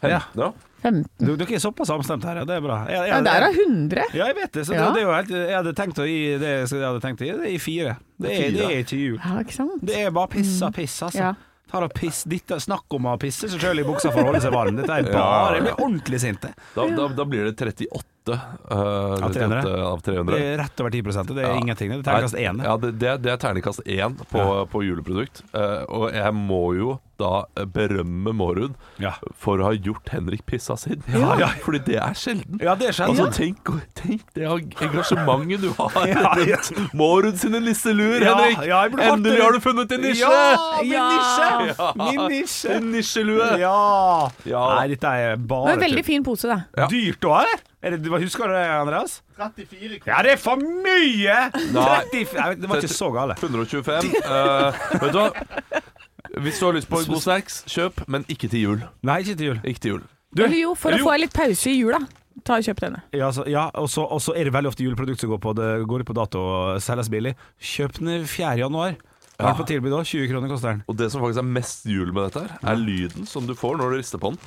Speaker 3: Fem.
Speaker 4: Ja.
Speaker 3: Ja.
Speaker 5: Femten.
Speaker 4: Du, dere er såpass samstemt her, ja. Det er bra. Jeg, jeg,
Speaker 5: Ja, der er hundre.
Speaker 4: Ja, jeg vet det. Så det,
Speaker 5: Ja.
Speaker 4: det er jo helt, jeg hadde tenkt å gi det jeg hadde tenkt å gi, det er i fire. Det er, det
Speaker 3: Fire.
Speaker 4: er ikke jul.
Speaker 5: Ja, ikke sant?
Speaker 4: Det er bare piss av piss, altså.
Speaker 5: Mm. Ja.
Speaker 4: Tar og piss, ditt, snakk om å pisse seg sjøl i buksa for å holde seg varm. Dette er bare Jeg blir ordentlig sint. jeg.
Speaker 3: Da, da, da blir det 38 eh,
Speaker 4: 300.
Speaker 3: 38 av 300.
Speaker 4: Det er rett over 10 Det er
Speaker 3: Ja.
Speaker 4: ingenting. Det er terningkast
Speaker 3: Nei,
Speaker 4: én.
Speaker 3: Ja, det, det, er- det er terningkast én på, på juleprodukt. Eh, og jeg må jo da eh, berømme Mårud
Speaker 4: Ja.
Speaker 3: for å ha gjort Henrik pissa sin. [LAUGHS]
Speaker 4: Ja.
Speaker 3: Fordi det er sjelden.
Speaker 4: Ja, det skjedde.
Speaker 3: Altså, tenk, tenk det eng- engasjementet du har.
Speaker 4: [LAUGHS] Ja, ja.
Speaker 3: Mårud sine nisseluer,
Speaker 4: Ja,
Speaker 3: Henrik!
Speaker 4: ja, jeg burde hatt
Speaker 3: Endelig
Speaker 4: det.
Speaker 3: har du funnet din nisje!
Speaker 4: Ja, min
Speaker 5: Ja.
Speaker 4: nisje! Min nisje!
Speaker 3: En nisjelue!
Speaker 4: Ja.
Speaker 3: Ja.
Speaker 4: Nei, dette er
Speaker 5: Det var
Speaker 4: bare
Speaker 5: en veldig fin pose, da.
Speaker 4: Eh,
Speaker 3: Ja.
Speaker 4: Dyrt òg, eller? Er det, hva- husker du det, Andreas?
Speaker 1: 34
Speaker 4: Ja, det er for mye!
Speaker 3: Nei.
Speaker 4: 30, nei, det var ikke så gale.
Speaker 3: 125. Eh, vet du hva? Hvis du har lyst på en god snacks, kjøp, men ikke til jul.
Speaker 4: Nei, ikke til jul.
Speaker 3: Ikke til jul.
Speaker 5: Eller jo, for å
Speaker 4: jo.
Speaker 5: få litt pause i jula. Ta og Kjøp denne.
Speaker 4: Ja, så, ja og, så, og så er det veldig ofte juleprodukt som går, på, det går ut på dato og selges billig. Kjøp den 4. januar. Hva er det på tilbud da? 20 kroner koster den.
Speaker 3: Og det som faktisk er mest jul med dette her, er lyden som du får når du rister på den.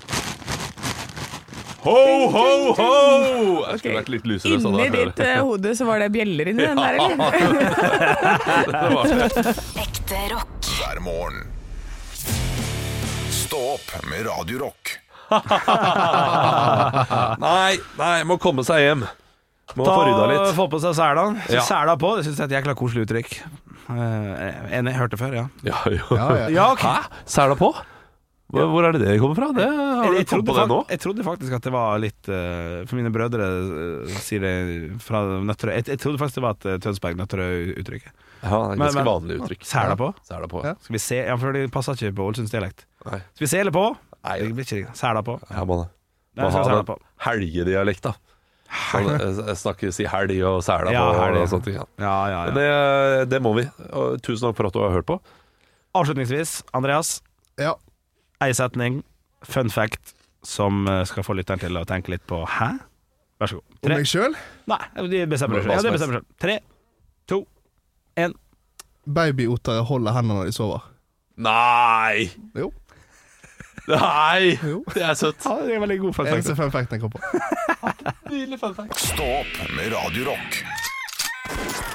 Speaker 3: Ho, ho, ho! Jeg skulle vært litt lysere. så
Speaker 5: Inni
Speaker 3: hadde jeg
Speaker 5: ditt eh, hode så var det bjeller inni den der, eller?
Speaker 3: hørt [LAUGHS] det. Det var det.
Speaker 6: Ekte rock.
Speaker 2: hver morgen. Stå opp med Radio Rock.
Speaker 4: [LAUGHS]
Speaker 3: Nei, nei, må komme seg hjem. Må få rydda
Speaker 4: Ta
Speaker 3: litt.
Speaker 4: Få på seg selaen.
Speaker 3: Ja.
Speaker 4: Ja. Sela på, det syns jeg er et jækla koselig uttrykk. Eh, enig, jeg hørte før, ja.
Speaker 3: Ja, jo.
Speaker 1: Ja, ja.
Speaker 4: Ja, ok.
Speaker 3: Hæ? Sæla på? Hvor hvor er det det kommer fra? Det, har du
Speaker 4: Jeg,
Speaker 3: kommet
Speaker 4: trodde
Speaker 3: på det nå?
Speaker 4: fakt- jeg trodde faktisk at det var litt eh, For mine brødre eh, sier det fra Nøtterøy. Jeg, jeg trodde faktisk det var et eh, Tønsberg-Nøtterøy-uttrykket.
Speaker 3: Ja, det er et
Speaker 4: Men-
Speaker 3: ganske
Speaker 4: men-
Speaker 3: vanlig uttrykk.
Speaker 4: Sæla på?
Speaker 3: Sæla på.
Speaker 1: Ja.
Speaker 4: Skal vi se Ja, for det passer ikke på Ålesundsdialekt.
Speaker 3: Nei.
Speaker 4: Skal vi sele på?
Speaker 3: Nei.
Speaker 4: Det blir ikke riktig. Sæla på.
Speaker 3: Ja, man,
Speaker 4: Nei,
Speaker 3: man
Speaker 4: skal
Speaker 3: har
Speaker 4: sæla
Speaker 3: den
Speaker 4: på.
Speaker 3: helgedialekt, da. Sånn, eh, jeg snakker, si helg og sæla
Speaker 4: Ja,
Speaker 3: på
Speaker 4: helg.
Speaker 3: og sånt. Ja.
Speaker 4: [LAUGHS] Ja, ja, ja.
Speaker 3: Det, det må vi. Og tusen takk for at du har hørt på.
Speaker 4: Avslutningsvis, Andreas,
Speaker 1: ja.
Speaker 4: ei setning, fun fact, som eh, skal få lytteren til å tenke litt på Hæ? Vær så god.
Speaker 1: Om
Speaker 4: Tre.
Speaker 1: meg sjøl?
Speaker 4: Nei, de bestemmer
Speaker 3: Hva
Speaker 4: det selv. Ja,
Speaker 3: som
Speaker 4: de bestemmer selv. Tre, to, én.
Speaker 1: Babyotere holder hendene når de sover.
Speaker 3: Nei!
Speaker 1: Jo.
Speaker 3: Nei!
Speaker 1: Jo.
Speaker 3: Det er søtt.
Speaker 4: Ja, det er veldig god fun fact.
Speaker 1: Eneste fun facten jeg kom på.
Speaker 2: Stå opp med Radio Rock.